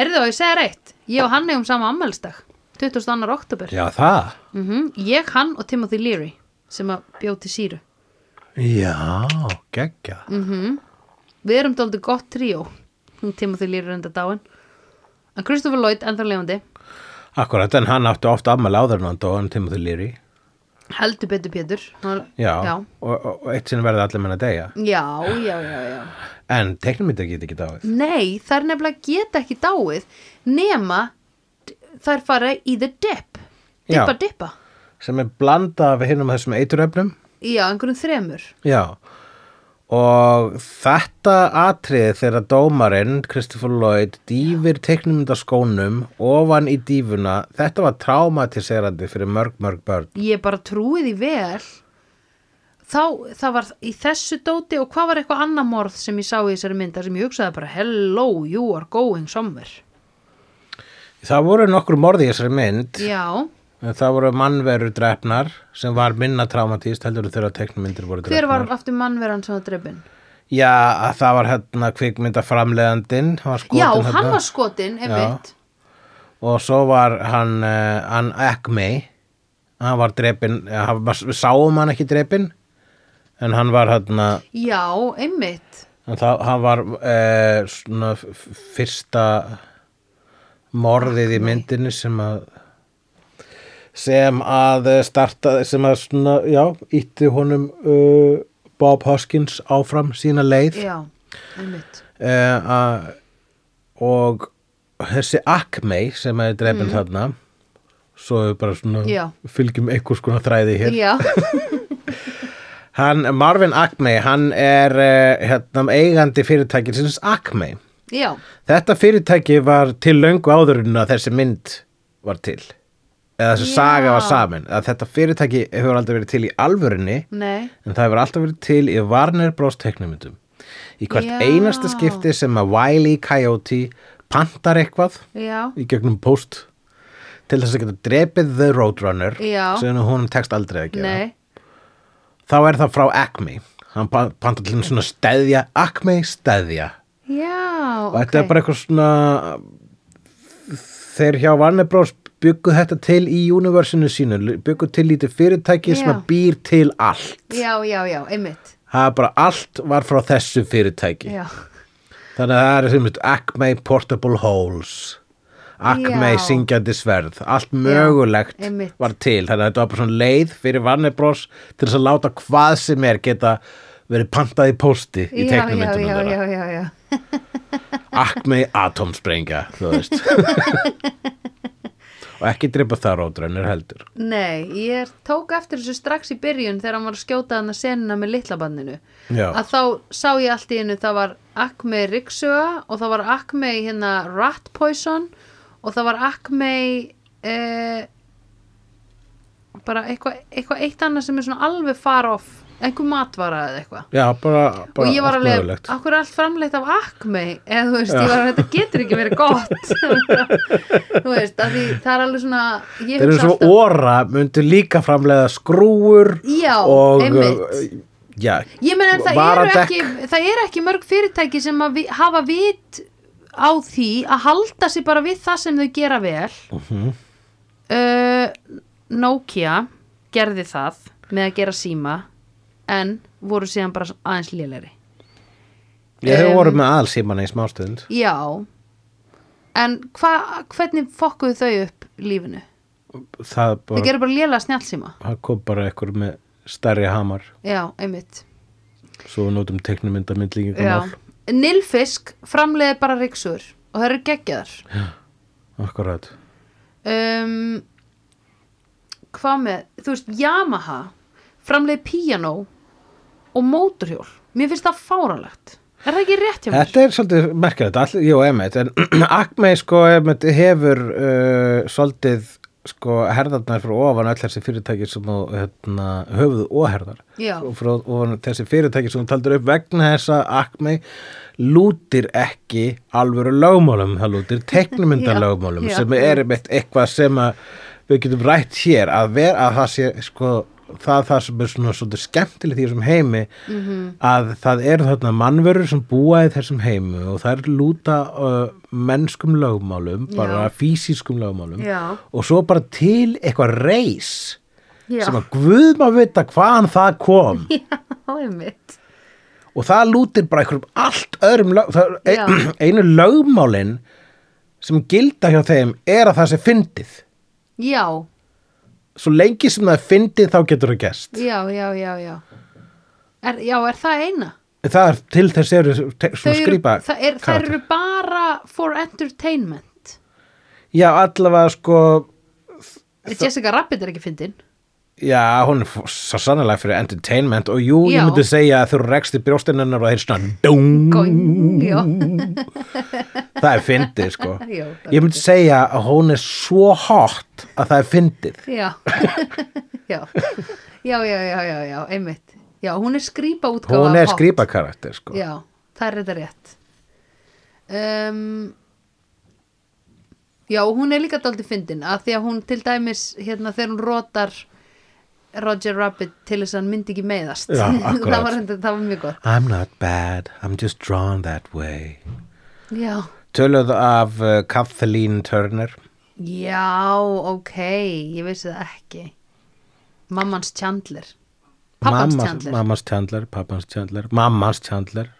Herðu, ég segi reitt, ég og hann eigum sama ammælstag 22. oktober
já það
mm Ég, hann og Timothy Leary sem að bjóti síru
já, geggja
Mm. Við erum dóldi gott tríó Hún Timothy Leary er enda dáin En Christopher Lloyd, ennþá lefandi
Akkurat, en hann átti ofta ammæli áður en hann dó, hann Timothy Leary.
Heldur betur Pétur Hann-
Já,
Já,
Og, og, og eitt sinni verði allir menn að deyja.
já, já, já, já.
En teknumyndir get ekki dáið.
Nei, þær nefnilega geta ekki dáið nema d- þær fara í the dip
Já.
Dippa, dippa
Sem er blanda af hinnum þessum eituröfnum.
Já, einhverjum þremur.
Já. Og þetta atrið þegar dómarinn, Christopher Lloyd, dýfir teknumyndaskónum ofan í dýfuna, þetta var traumatiserandi fyrir mörg, mörg börn.
Ég bara trúi því vel. Þá, það var í þessu dóti og hvað var eitthvað annað morð sem ég sá í þessari mynda sem ég hugsaði bara hello, you are going somewhere.
Það voru nokkur morði í þessari mynd.
Já,
en Það voru mannverur drefnar sem var minna traumatíst heldur en þegar teknumyndir voru drefnar.
hver var aftur mannveran sem var drefin?
Já, að það var hérna kvikmyndaframleðandinn, hann var skotin
Já,
hérna.
hann var skotin, einmitt.
Og svo var hann, uh, hann Acme, hann var drepinn, eh, hann var- við sáum hann ekki drepinn, en hann var hérna,
Já, einmitt.
en þá, hann var uh, svona f- f- fyrsta morðið í myndinni sem að sem að eh, starta, sem að svona, já, ítti honum uh, Bob Hoskins áfram sína leið.
Já, einmitt.
uh, að- og þessi Acme sem er drefin þarna svo við bara svona
Mhm. Já.
fylgjum einhvers konar þræði hér
Já,
hann, Marvin Acme, hann er uh, hérna, eigandi eh, fyrirtækisins Acme
já,
Þetta fyrirtæki var til löngu áður en að þessi mynd var til eða þessi
Já.
saga var samin að þetta fyrirtæki hefur aldrei verið til í alvörinni
nei,
en það hefur alltaf verið til í Warner Bros. teknimyndum í hvert
Já.
einasta skipti sem að Wile E. Coyote pantar eitthvað
já
í gegnum post til þess að geta drepið The Roadrunner
Já.
sem hún tekst aldrei að gera
nei,
þá er það frá Acme hann pa- pantar til svona steðja Acme steðja
já
og þetta
ok.
er bara eitthvað svona þeir hjá Warner Bros byggu þetta til í universinu sínu byggu til lítið fyrirtæki sem
Já.
að býr til allt
já, já, já, einmitt
það er bara allt var frá þessu fyrirtæki
já,
þannig að það er sem sagt Acme Portable Holes Acme
Já.
syngjandi sverð allt mögulegt
einmitt.
var til þannig að þetta var bara svona leið fyrir Warner Bros til þess að láta hvað sem er geta verið pantað í pósti í
já, já,
teiknumyndunum
já,
þeirra
já, já, já
Akme atomsprengja, þú veist og ekki drepa það rótrænir heldur
Nei, ég tók eftir þessu strax í byrjun þegar hann var að skjóta hann að senuna með litla bandinu
Já.
að þá sá ég allt í einu það var Akme Riksuga og það var Akme hérna Rat Poison og það var Akme eh, bara eitthvað eitthva eitt annað sem er svona alveg far off einhver matvara eða eitthvað
já, bara, bara
og ég var
allt
alveg,
mögulegt.
akkur er allt framleitt af akme eða þú veist, ég var alveg, þetta getur ekki verið gott þú veist, af því það er alveg svona ég
þeir eru
hugsa
svo
alltaf-
óra, myndu líka framlega skrúur
Já,
og uh,
einmitt.
já,
Ég meina en það eru
varadekk.
ekki, það eru ekki mörg fyrirtæki sem að vi, hafa vit á því að halda sig bara við það sem þau gera vel. uh, Nokia gerði það með að gera síma en voru síðan bara aðeins lélegri.
ég
Em.
hefur voru með aðalsýmana í smástund
Já, en hva, hvernig fokkuðu þau upp lífinu?
það,
Þau
bara,
gerðu bara lélega snjálsíma.
það kom bara ekkur með stærri hamar
Já, einmitt.
svo við notum
Já.
teknumyndamindlíkingamál
Nilfisk framleiði bara ríksur og það eru geggjaðar.
akkurat
um, hvað með, þú veist, Yamaha framleiði píanó og móturhjól, mér finnst það fáralegt er það ekki rétt hjá mér?
Þetta er svolítið merkilegt, all, jú, emitt, en Acme sko, emitt, hefur uh, svolítið sko herðarnar frá ofan öll þessi fyrirtæki sem þú, hérna, höfuð og herðar
Já.
og frá ofan þessi fyrirtæki sem þú taldur upp vegna þess að Acme lútir ekki alvöru lögmálum, það lútir teknumyndalögmálum
Já, já.
sem er emitt eitthvað sem að við getum rætt hér að vera að það sé sko það, það sem er svona svolítið skemmtilegt í þessum heimi
Mhm.
að það eru þarna mannverur sem búa í þessum heimu og það er lúta uh, mennskum lögmálum, bara
Já.
fysiskum lögmálum
Já.
og svo bara til eitthvað reis
Já,
sem að guð maður vita hvaðan það kom
það er mitt
og það lútir bara einhverjum allt öðrum lög, það,
Já.
er- einu lögmálin sem gilda hjá þeim er að það sé fyndið
Já,
svo lengi sem það er fyndið þá getur það gerst
já, já, já, já Er, já, er það eina?
Það er til þess eru te-
Þau
svona
eru-
skrýpa
það er, þær eru bara for entertainment
Já, allavega sko
Jessica Rabbit er ekki fyndin
Já, hún er f- svo sannlega fyrir entertainment og jú,
Já.
ég myndi segja að þú rekst í brjóstinennar og það er svona dung,
Going, já,
það er fyndið sko
Já, það er
Ég myndi segja að hún er svo hot að það er fyndið
já Já, já, já, já, já, já, einmitt Já, hún er skrýpa útgáfa
Hún er
af Sko, Hot.
skrýpa karakter sko
Já, það er þetta rétt um, Já, hún er líka dálítið fyndin að því að hún til dæmis hérna þegar hún rótar Roger Rabbit til þess að hann myndi ekki meiðast
Já,
það,
akkurat.
var, reyndar- það var mjög gott
I'm not bad, I'm just drawn that way
Já,
Töluð af uh, Kathleen Turner
já, ok ég vissi það ekki Mammans Chandler Pappans
Mammas-
Chandler
Mammas Chandler, pappans Chandler Mammas Chandler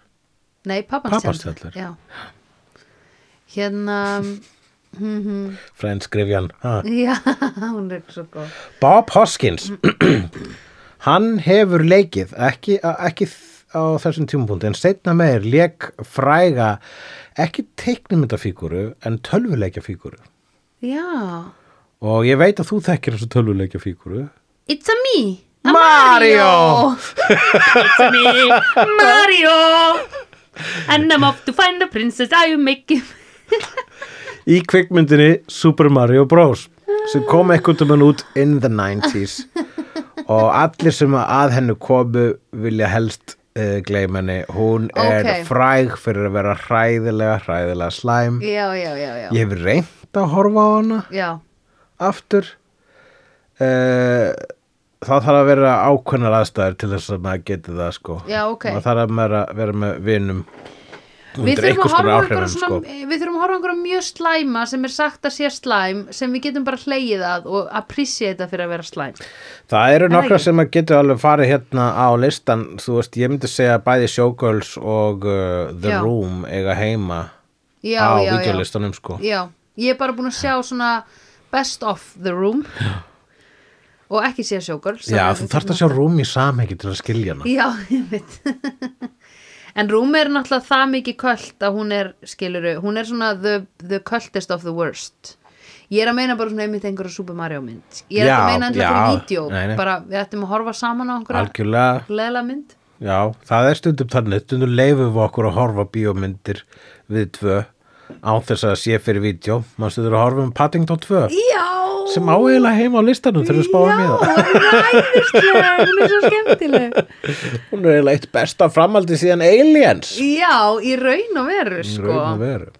Nei, pappans,
Pabbans
Chandler,
Chandler.
Já. Hérna mm
Friends Grifjan ha.
Já, hún er svo góð
Bob Hoskins hann hefur leikið ekki, ekki á þessum tímapunkti en setna meir leik fræga ekki teiknumyndafíguru en tölvuleikjafíguru
Já
og ég veit að þú þekkir þessu tölvuleikjafíguru
It's a me a
Mario!
Mario. It's a me Mario And I'm off to find a princess I will make him
í kvikmyndinni Super Mario Bros sem kom ekkert um hann út in the 90s og allir sem að hennu komu vilja helst uh, gleyma henni hún er
Ókei.
fræg fyrir að vera hræðilega, hræðilega slæm
Já, já, já, já
ég hef reynt að horfa á hana
Já,
aftur uh, það þarf að vera ákveðnar aðstæður til þess að maður geti það sko
Já, ok.
maður þarf að vera, vera með vinum
við
undir
þurfum, að
einhvers konar
horfa á einhverja
áhrifum
svona,
sko
við þurfum að horfa á einhverja mjög slæma sem er sagt að sé slæm sem við getum bara hleyið að og appreciata fyrir að vera slæm
það eru
það
nokkra
ekki?
sem að getur alveg farið hérna á listan þú veist, ég myndi segja að bæði Showgirls og uh, The
Já.
Room eiga heima
já,
á
já, já.
videolistanum sko
já, ég er bara búin að sjá svona best of the room og ekki sé sjókur
já, þú þarft að sjá Room í samhengi til að skilja hana
já, ég veit en Rúm er náttúrulega það mikið kvöld að hún er, skiluru, hún er svona the, the cultest of the worst ég er að meina bara svona einmitt einhverja Super Mario mynd ég er
Já,
ekki að meina
já,
einhverja fyrir vídeo
nei, nei.
bara við ættum að horfa saman á einhverja
algjörlega
leila mynd
Já, það er stundum þannig, stundum leifum við okkur að horfa á bíómyndir við tvö á þess að sé fyrir vídeo, maður stundur að horfa um Paddington 2
já,
sem á eiginlega heima á listanum þegar við spáum í það.
ræðislega, hún er svo skemmtileg
Hún er eiginlega eitt besta framaldi síðan Aliens.
já, í raun og veru
Í
sko
raun og veru.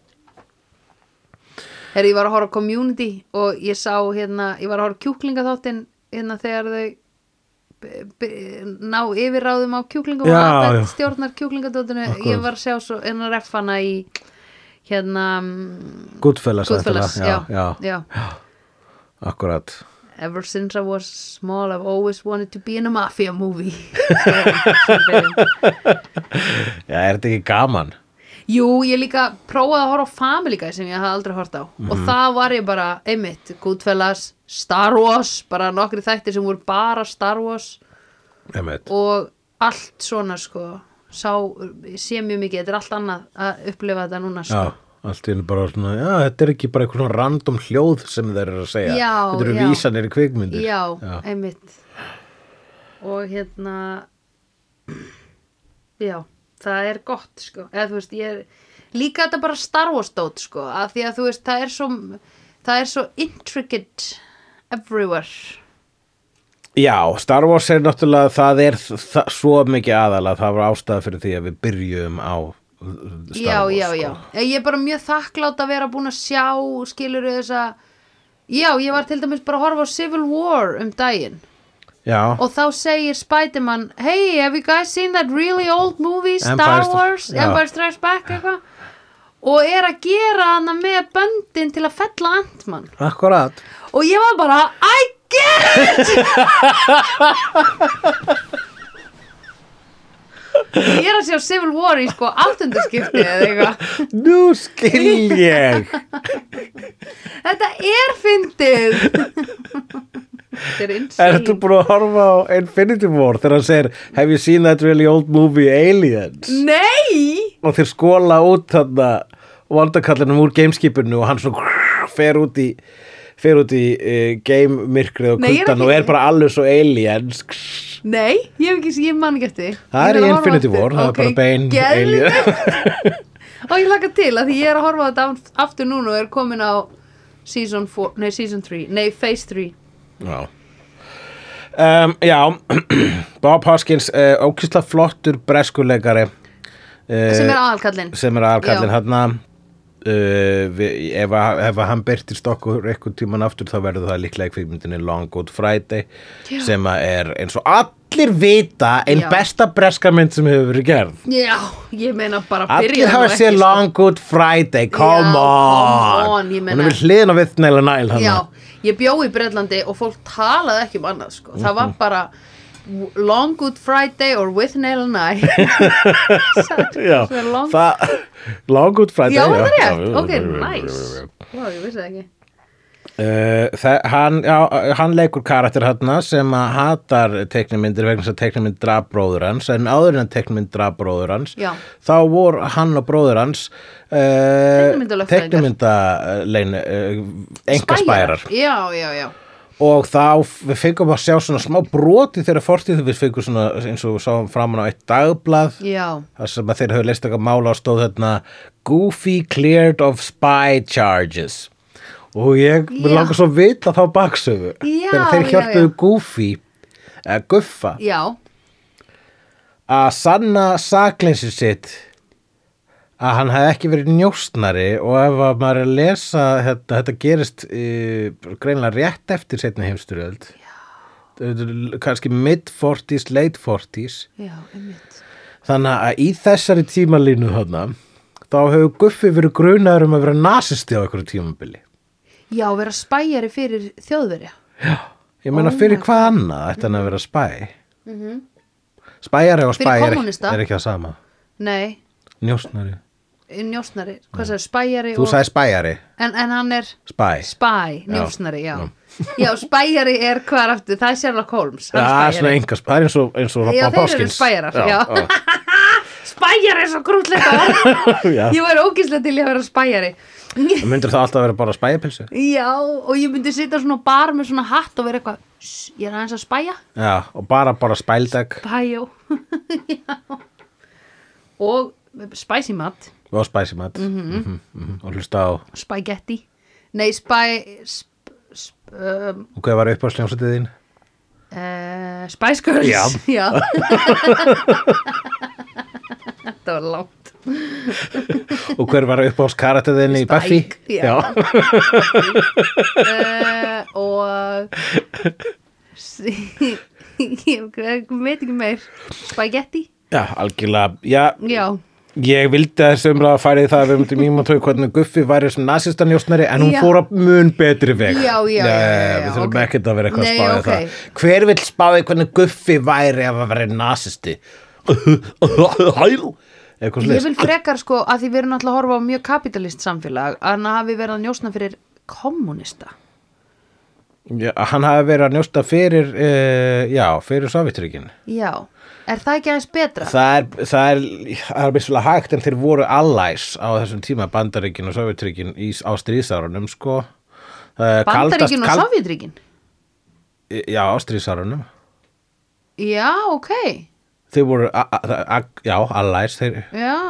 Herri, ég var að horfa á Community og ég sá hérna, ég var að horfa á kjúklingaþáttin hérna þegar þau b- b- ná yfirráðum á kjúklingum
Já,
og
já.
Abed stjórnar kjúklingadóttinu
Akkurat.
ég var að sjá svo hérna refana í hérna mm,
Goodfellas,
Goodfellas,
væntanlega,
já,
já, já,
já.
akkurat.
Ever since I was small I've always wanted to be in a mafia movie Sem byrjun.
Já, er þetta ekki gaman?
Jú, ég líka prófaði að horfa á Family Guy sem ég hafði aldrei hort á og það var ég bara, einmitt, Goodfellas Star Wars, bara nokkri þættir sem voru bara Star Wars
Einmitt.
og allt svona sko sá, sé mjög mikið, þetta er allt annað að upplifa þetta núna sko.
Já, allt í henni bara svona, já, þetta er ekki bara eitthvað svona random hljóð sem þeir eru að segja.
Já,
þetta eru
já.
vísanir í kvikmyndir.
Já, einmitt og hérna já, það er gott sko, eða þú veist, ég er líka þetta bara Star Wars dót sko að því að þú veist, það er svo það er svo intricate everywhere
Já, Star Wars er náttúrulega, það er það, svo mikið aðalega, það var ástæða fyrir því að við byrjum á uh, Star
já,
Wars. sko.
já, já, ég er bara mjög þakklátt að vera búin að sjá skilur þessa já, ég var til dæmis bara að horfa á Civil War um daginn
Já,
og þá segir Spiderman hey, have you guys seen that really old movie Star
Empire Stri-
Wars,
Já.
Empire Strikes Back eitthvað og er að gera hana með böndin til að fella Ant-Man
akkurat.
og ég var bara, I get it ég er að sjá Civil War í sko áttundaskipti eða eitthvað
Nú skil ég.
þetta er fyndið þetta er
Ertu
insane
búin að horfa á Infinity War þegar hann segir Have you seen that really old movie Aliens?
nei
Og þeir skóla út þarna vandakallinum úr gameskipinu og hann svona fer út í fer út í uh, game myrkrið og
Nei, ég er
kuldan
ekki-
og er bara alveg svo aliens
Nei, ég hef ekki, ég man ekki eftir
Það
Ég
er
verð
í
að horfa
Infinity
aftur.
War, það er
Ok,
bara bein
geðveikt.
alien.
Og ég laka til að því ég er að horfa á þetta af- aftur núna og er komin á season 4, nei season 3, nei phase 3
Já um, Já Bob Hoskins, uh, ókýrsla flottur breskuleikari uh,
sem er aðalkallinn
sem er aðalkallinn
Já.
hérna Uh, við- ef, að- ef að hann byrtist okkur einhvern tíman aftur þá verður það líklega í kvikmyndinni Long Good Friday
Já.
sem að er eins og allir vita einn
Já.
besta breskamynd sem hefur verið gerð
Já, ég meina bara
allir
byrja
hafa séð Long Good Friday come
Já, come
on,
on, ég
hún
meina-
er við hliðin á við Neil Næl
Já, ég bjó í Bretlandi og fólk talaði ekki um annað sko Það
Mhm.
var bara Long Good Friday or With Nail and I
Já,
Svo er long-
það, Long Good Friday
Já, var það rétt?
já.
Ok, nice Vá, ég vissi það ekki
Uh, það, hann, já, eh, hann leikur karakter hérna sem að hatar teiknumyndir vegna þess að teiknumynd draf bróður hans en áður en teiknumynd draf bróður hans
Já.
þá voru hann og bróður hans uh,
Teiknimyndalögfræðingar.
teiknumynda uh, uh, enga eh, spærar
Já, já, já
og þá við fengum að sjá svona smá broti þegar fortíð við fengum svona eins og við sáum framan á eitt dagblað
Já,
þar sem að þeir höfðu leist eitthvað mála og stóð þarna Goofy cleared of spy charges og ég mér
Já.
langar svo að vita þá baksöfu
Já,
þegar þeir
já,
hjálpuðu
já.
Goofy eða Guffa
já,
að sanna sakleysi sitt að hann hefði ekki verið njóstnari og ef að maður er að lesa þetta, þetta gerist uh, greinlega rétt eftir setna heimsturöld kannski mid-40s, late-40s
já, einmitt
þannig að í þessari tímalínu þarna þá hefur Guffi verið grunaður um að vera nasisti á einhverju tímabili
Já, vera spæjari fyrir þjóðverja
ég meina
Oh
fyrir
my
hvað annað ætti hann að vera spæ spæjari og
Mhm. Fyrir
spæ er, ekki-
kommúnista.
er ekki að sama
Nei,
njóstnari,
njósnari, hvað sagði, spæjari
þú
og...
sagði spæjari
en, en hann er
spæ
spæ, njósnari, já Já, spæjari er hvað er aftur, það er Sherlock Holmes hann er
Já, svona
spæjari.
enga spæ, það er eins og, eins og
Já,
Rabba
þeir eru
Páskins.
spæjarar, já.
já.
Spæjari er svo grútlega
Já.
Ég var ógislega til í að vera spæjari
Það Myndir það alltaf vera bara spæjapilsu?
Já, og ég myndi sitja svona á bar með svona hatt og vera eitthvað "Sss, Ég er aðeins að spæja
Já, og bara, bara spældag
Bæjó Já Og spicy mat
og spæsimat mm
Mhm.
-hmm. mm -hmm. og hlusta á,
Spaghetti Nei, spæ sp, sp, um,
og hvað var upp á sljómsætið þín?
uh, Spice Girls
Já.
Þetta var langt
Og hver var upp á skaratið þín í Buffy?
já. uh, Og s- Ég veit ekki meir Spaghetti
Já, algjörlega, já,
Já,
ég vildi að þessu umræða færi það að við myndum íma tók hvernig Guffi væri sem nasistanjósnari en hún
Já.
fór að mun betri veg.
Já, já, já, já, já,
Við þurfum
ok.
ekkert að vera eitthvað að
Nei,
spáði
ok.
það. Hver vill spáði hvernig Guffi væri ef að vera nasisti? Hæl? Eitthvað
Ég
slið.
vil frekar sko að því við erum náttúrulega að horfa á mjög kapitalist samfélag að hann hafi verið að njósna fyrir kommunista.
Já, hann hafi verið að njósta fyrir, uh, já, fyrir Sovjetryggjum.
Já, er það ekki aðeins betra?
Það er, það er, það er vissulega hægt en þeir voru allies á þessum tíma Bandaríkin og Sovjetryggjum í- á stríðsárunum, sko. Það er kaldast-
Bandaríkin og
kald-
Sovjetríkin?
Já, á stríðsárunum.
Já, ok,
Þeir voru, a- a- a- já, allies, þeir,
já.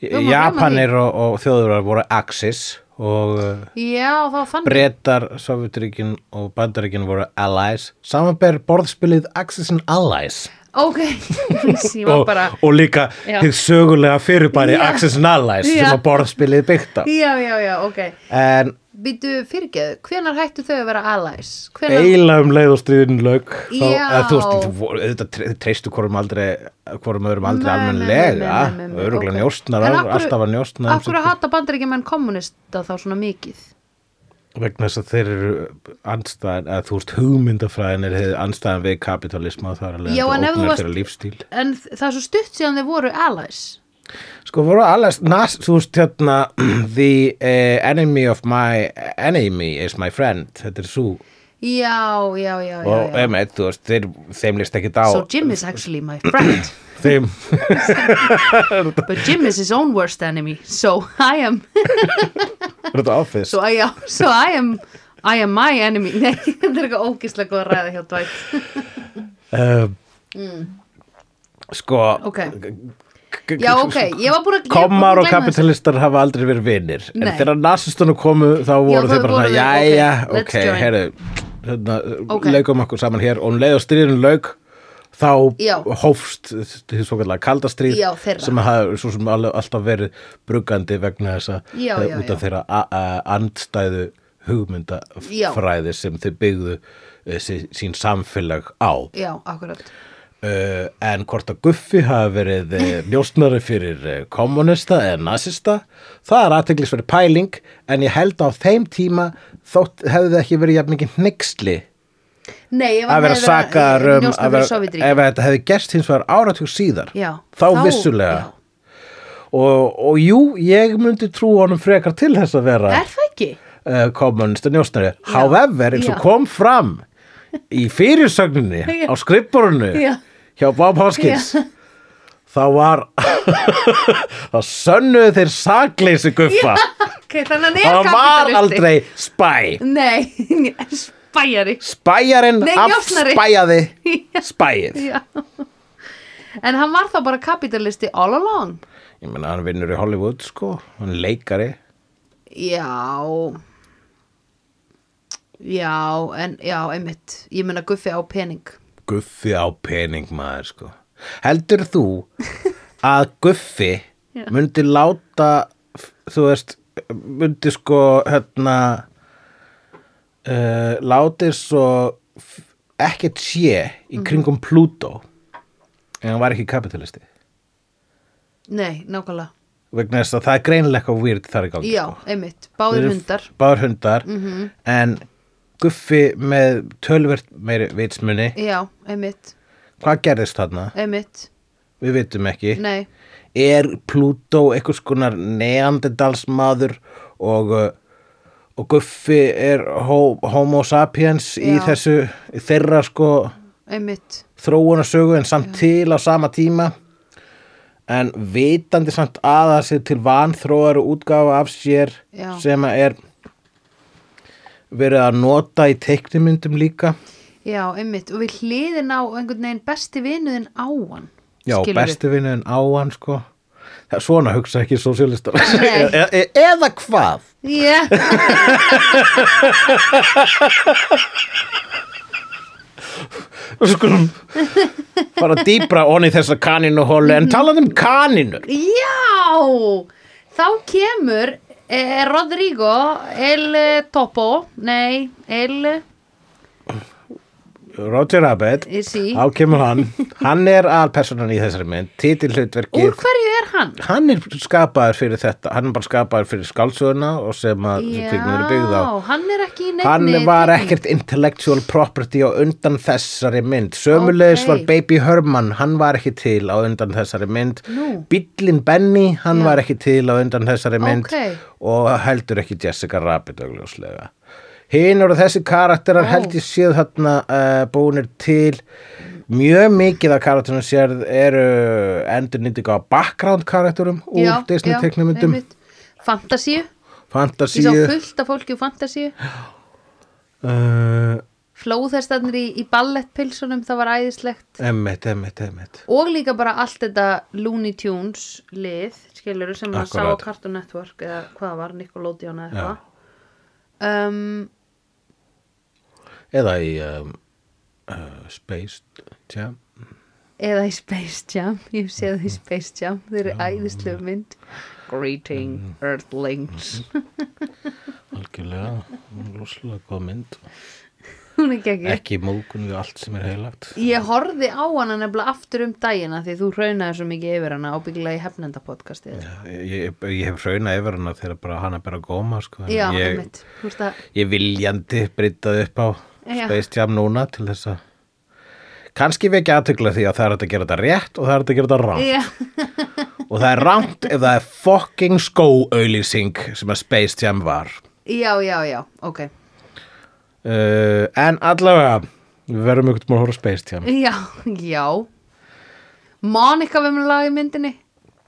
Við erum að
Japanir og, og þjóðurar voru Axis og uh,
gleyma því. Já, þá fann ég.
Bretar, Sovjetryggjum og Bandaríkin voru allies. Samanber borðspilið Axis and Allies.
Ok, ég var
og,
bara,
og líka
Já.
hið sögulega fyrirbæri
Já.
Axis and Allies
Já.
sem að borðspilið byggt á
já, já, já, ok.
en
Býtu fyrirgeðu, hvenar hættu þau að vera allies? Hvenar,
eiginlega um leið og stríðin lög þá,
Já.
eða, þú veist, þú voru- auðvitað tre- þau treystu hvorum aldrei hvorum öðrum aldrei
Nei, nei, nei,
almennilega
nei, nei, nei, nei,
öruglega
ok.
okay. njóstnar,
En af hverju-
alltaf að um njóstna
af hverju hata bandaríkjumenn kommunista þá svona mikið?
vegna þess að þeir eru andstæðan, að þú veist hugmyndafræðin er hið andstæðan við kapitalisma og það er alveg
Já, en ef þú
ógnar
varst-
þeirra lífstíl
En þ- það er svo stutt síðan þau voru allies.
Sko voru alveg, nas, þú veist hérna The eh, enemy of my enemy is my friend þetta er svo
Já, já, já, já,
og
já.
emeit, þú veist, þeir, þeim líst ekki á
So Jim is actually my friend
þeim,
But Jim is his own worst enemy So I am
er þetta áfis
So I, já, so I am I am my enemy Nei, þetta er eitthvað ógislega góð ræða hjá Dwight
um, sko
Mm. Ok.
k-
Já,
k-
ok, ég var búin að ég var búin að
kommar og
gleyma þessu.
kapitalistar hafa aldrei verið vinir en
Nei.
þegar nasistunum komu þá voru
þá
þeir bara svona,
voru þeir, ok,
jæja,
let's
ok,
join."
herru hérna,
Ok.
leikum okkur saman hér og um leið og stríðin lauk þá
Já.
hófst því svo kallar kaldastríð
Já, þeirra.
sem hafa svo sem alveg alltaf verið brugandi vegna þessa
Já,
eh,
já,
út
já.
af þeirra a- a- andstæðu
Já.
hugmyndafræði sem þau byggðu eh, sí- sín samfélag á
Já, akkurat
uh, en hvort að Guffi hafi verið uh, njóstnari fyrir uh, kommunista eða nazista það er aðteglisverið pæling en ég held á þeim tíma þótt hefði það ekki verið jafn mikið hnyggsli
Nei, ég var
að vera
með
sakar um að
njósna eh, fyrir
vera,
Sovétríkin.
ef þetta hefði gerst hins vegar áratug síðar
Já,
þá, vissulega
já.
og, og jú, ég myndi trú honum frekar til þess að vera
Er það ekki?
uh, kommunista njósnari however, eins og
já.
kom fram í fyrirsögninni
Já.
á skrippurinu
Já.
hjá Bob Hoskins þá var þá sönnuðu þeir sakleysi guffa
Ok, þannig að hann er
það var
kapitalisti
aldrei spæ
Nei, Bæjari
Spæjarinn
Nei,
af
njósnari.
spæjaði
Já.
Spæið
Já. En hann var þá bara kapitalisti all along
Ég meina hann vinnur í Hollywood sko Hann er leikari
Já Já, en já, einmitt Ég meina Guffi á pening
Guffi á pening maður sko Heldur þú að Guffi
Já.
myndi láta þú veist myndi sko hérna uh, láti svo f- ekkert sé í
Mhm.
kringum Plútó en hann var ekki kapitalisti
Nei, nákvæmlega
vegna þess að það er greinilega eitthvað weird þar í gangi
Já,
sko.
einmitt, báðir
Þeir eru
hundar Mhm.
báðir hundar en Guffi með tölvert meiri vitsmunni
Já, einmitt,
hvað gerðist þarna?
einmitt
Við vitum ekki
Nei,
er Plútó einhvers konar neanderdalsmaður og, uh, og Guffi er ho homo sapiens í
Já.
þessu þeirra sko
einmitt
þróunarsögu en samt til á sama tíma en vitandi samt aða sig til vanþróar og útgáfa af sér
Já.
sem að er verið að nota í teiknimyndum líka
Já, einmitt, og við hliðin á einhvern veginn besti vinuðin á hann
Já,
skilurðu.
bestu vinnuðin á hann sko Það er svona hugsa ekki sosialistar
Nei.
e e Eða hvað?
Já
Við skulum fara dýbra onni þessa kanínuhólu en talað um kanínur
Já, þá kemur eh, Rodrigo El Topo, nei, El,
Roger Rabbit,
Ég sí.
þá kemur hann hann er alpersonan í þessari mynd titillutverkið,
úr hverju er hann?
hann er skapaður fyrir þetta hann er bara skapaður fyrir skálsöguna og sem að sem kvikmynd er byggð á
Já, hann er ekki í nefni
hann var ekkert intellectual property á undan þessari mynd sömulegis
Ok.
var Baby Herman hann var ekki til á undan þessari mynd
Nú.
Bíllinn Benny hann
Já.
var ekki til á undan þessari mynd
Ok.
og heldur ekki Jessica Rabbit augljóslega hinn eru þessi karakterar
Ó.
held ég séð þarna uh, búinir til mjög mikið af karakterum sérð eru endur nýndinga á background karakterum úr
Já,
Disney
já,
teknumyndum
einmitt. Fantasíu, ég sá
fantasíu
fullt af fólki úr fantasíu
uh,
Flóðhestarnir í, í ballettpilsunum, það var æðislegt
emmitt, emmitt, emmitt
Og líka bara allt þetta Looney Tunes lið, skilur sem maður sá á
Akkurat.
Cartoon Network eða hvað það var, Nickelodeon eða eitthvað um,
eða í um, uh, Space Jam
eða í Space Jam ég sé það í Space Jam, þeir eru æðislu mynd
Mm.
Greeting Earthlings
algjörlega, rosalega góð mynd
hún er geggjur
ekki mókun við allt sem er heilagt
ég horfði á hana nefnilega aftur um dagina því þú raunaði svo mikið yfir hana ábyggilega í hefnenda podcastið já,
ég, ég hef rauna yfir hana þegar bara hana bara góma sko. en ég,
einmitt þú veist að,
ég viljandi breytaði upp á
Já.
Space Jam núna til þess að kannski við ekki aðtökla því að það er hægt að gera þetta rétt og það er hægt að gera þetta rangt
já,
og það er rangt ef það er fucking skóauðlýsing sem að Space Jam var
já, já, já, ok
uh, en allavega við verðum ykkur til að horfa á Space Jam
já, já Monika við með lag í myndinni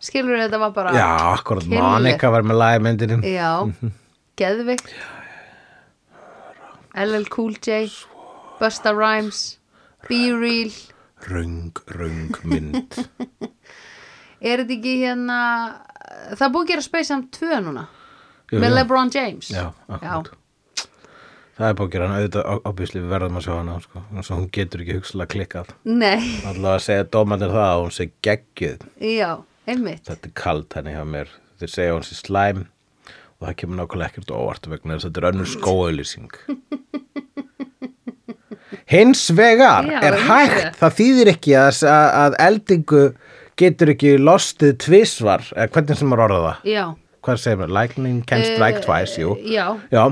skilur þetta var bara
Já, akkurat,
Kynlegt.
Monika var með lagmyndinni
Já, geðvikt LL Cool J Busta Rhymes Be Real
Röng, röng mynd
Er þetta ekki hérna Það er búið að gera Space Jam 2 núna
Jú,
Með
jú.
LeBron James
Já, akkurat Það er bókir hann, auðvitað, obvísli við verðum að sjá hana sko. Svo hún getur ekki hugsalega klikkað
Nei,
Alltaf að segja dómandir það að hún sé geggjuð
já, einmitt
Þetta er kalt henni hjá mér Þeir segja að hún sé slæm Og það kemur nákvæmlega ekkert á óvart vegna þess að þetta er önnur skóauðlýsing Hins vegar
Já,
er
hins
hægt
vegar.
Það þýðir ekki að, að, að eldingu getur ekki lostið tvisvar eða hvernig sem maður orða það
Já,
hvað segir maður, lightning can strike twice, jú
já
já,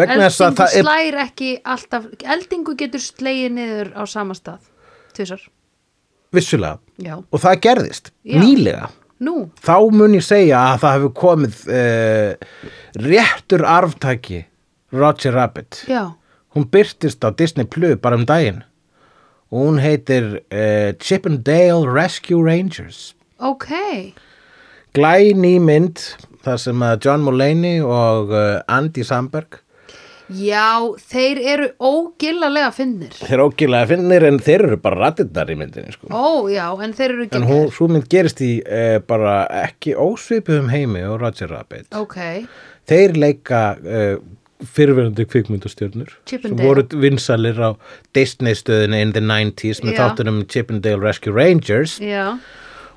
vegna þess að
Eh, Eldingu
það er
slær ekki alltaf Eldingu getur slegið niður á sama stað Tvisar,
vissulega
já
og það gerðist,
Já.
nýlega
Nú,
þá mun ég segja að það hefur komið uh, réttur arftaki Roger Rabbit
já,
hún byrtist á Disney Plus bara um daginn og hún heitir uh, Chip and Dale Rescue Rangers
ok
glæný mynd þar sem að John Mulaney og uh, Andy eh, Samberg
Já, þeir eru ógillalega finnir.
Þeir eru ógilega finnir en þeir eru bara rattinnar í myndinni sko.
Ó, já, en þeir eru
En
ekki...
hún, svo mynd gerist í eh, bara ekki ósvipuðum heimi og Roger Rabbit.
Ok,
Þeir leika uh, fyrirverandi kvikmyndastjörnur
Chip and
sem
Dale.
voru vinsalir á Disney stöðinu in the 90s með
Já.
þáttunum Chip and Dale Rescue Rangers
já,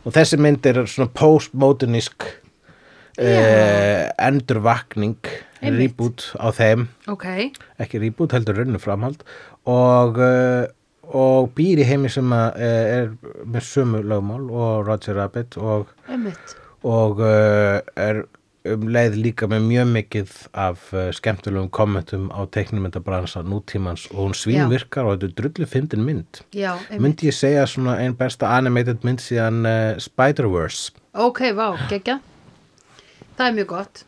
og þessi mynd er svona postmodernisk uh, endurvakning
Einmitt.
reboot á þeim
ok,
ekki reboot heldur rauninu framhald og, uh, og býr í heimi sem að, uh, er með sömu lögmál og Roger Rabbit og,
einmitt.
og uh, er um leið líka með mjög mikið af uh, skemmtilegum kommentum á teiknumyndabransa nútímans og hún svínvirkar og þetta er drullu fyndin mynd
Já, einmitt.
myndi ég segja svona ein besta animated mynd síðan uh, Spider-Verse
Ok, vá, geggja. Það er mjög gott.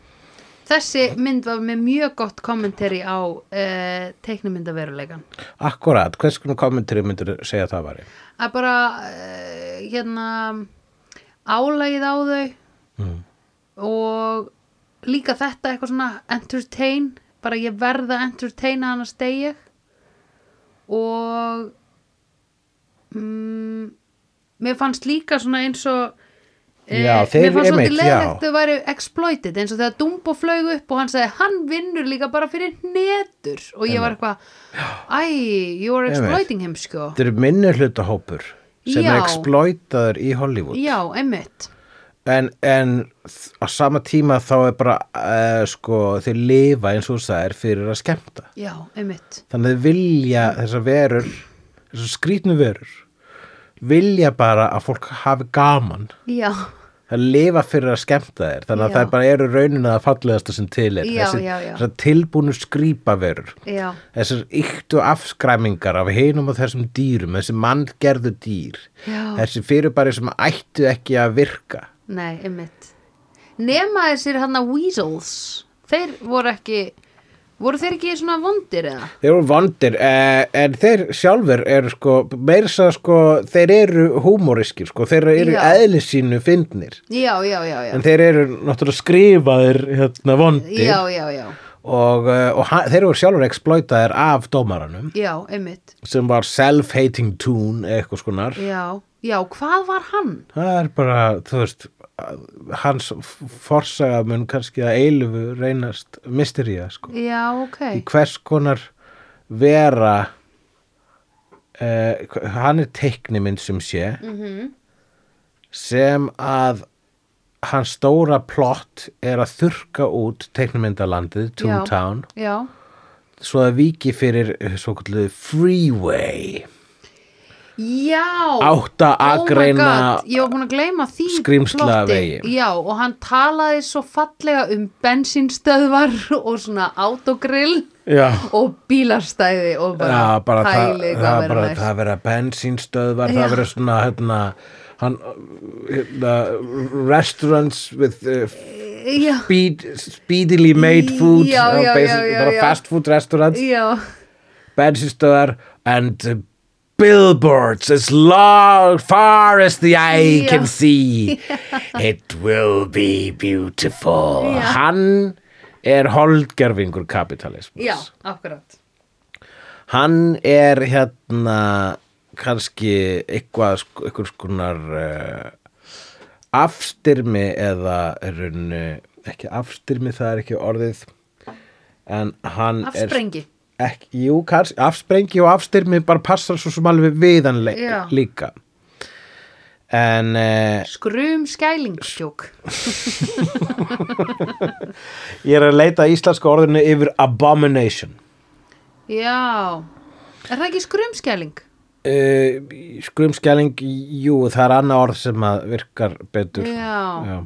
Þessi mynd var með mjög gott kommentari á uh, teiknumyndaveruleikan.
Akkurat, hvers konar kommentari myndir segja það var
Að bara, uh, hérna, álægið á þau
mm.
og líka þetta eitthvað svona entertain, bara ég verða entertaina hann að stegi og mm, mér fannst líka svona eins og
Já, þeir-
Eh, mér
einmitt,
fannst svolítið um- leiðlegt
já.
þau væri exploited eins og þegar Dumbo flög upp og hann sagði hann vinnur líka bara fyrir netur og ég var eitthvað æ, you are
Einmitt.
exploiting him sko
Þetta eru minni hlutahópur sem er
Já.
exploitaður í Hollywood
já, einmitt
en, en þ- á sama tíma þá er bara uh, sko, þeir lifa eins og það er fyrir að skemmta
já, einmitt
þannig að þeir vilja þessar verur þessar skrýtnu verur vilja bara að fólk hafi gaman
já,
það lifa fyrir að skemmta þér þannig að
Já.
það bara eru raunina að fallegasta sem til er
Já,
þessi,
já, já.
þessar tilbúnu skrýpaverur
já,
þessar yktu afskræmingar af hinum og þessum dýrum þessi manngerðu dýr
Já.
þessi fyrirbæri sem ættu ekki að virka
nei, einmitt nema þessir hann að weasels þeir voru ekki voru þeir ekki svona vondir eða?
Þeir eru vondir, eh, en þeir sjálfur eru sko, meira svo sko, þeir eru húmóriskir sko, þeir eru
Já.
eðli sínu fyndnir.
já, já, já, já
En þeir eru náttúrulega skrifaðir hérna vondir
já, já, já,
og, eh, og ha- þeir eru sjálfur exploitaðir af dómaranum
já, einmitt
sem var self-hating tune eitthvað skonar.
Já, já, hvað var hann?
Það er bara, þú veist, hans forsaga mun kannski að eilifu reynast mystería sko.
Já, ok.
í hvers konar vera uh, hann er teiknimynd sem sé
Mhm.
sem að hans stóra plott er að þurka út teiknimyndalandið, Toontown
Já,
svo að viki fyrir eh, svo kallu freeway
já.
átta
oh my
agreina
God, Ég var búin að gleyma því
skrímsla
plotti.
vegi.
Já, og hann talaði svo fallega um bensínstöðvar og svona autogrill
já,
og bílastæði og bara,
já, bara það,
pæli hvað
það,
verður
bara,
næst.
það vera bensínstöðvar, það
Já.
vera svona hérna, hann, hérna restaurants with uh,
Já,
speed, speedily made food
Já,
uh,
já,
basic-
já, já,
bara
já.
fast food restaurants
já,
bensinstöðar and uh, billboards as long far as the eye
Já.
can see it will be beautiful
Já.
hann er holdgerfingur kapitalismus
já, akkurat.
hann er hérna kannski eitthvað sk- einhvers konar uh, afstyrmi eða er hann ekki afstyrmi það er ekki orðið en hann
Afsprengi.
er ekki, jú, kannski, afsprengi og afstyrmi bara passar svo sem alveg við hann le-
Já.
líka en uh,
Skrum skælingsjók.
ég er að leita að íslenska orðinu yfir abomination
Já. Er það ekki skrumskæling?
Uh, skrumskjæling, jú, það er annað orð sem að virkar betur
Já.
Já.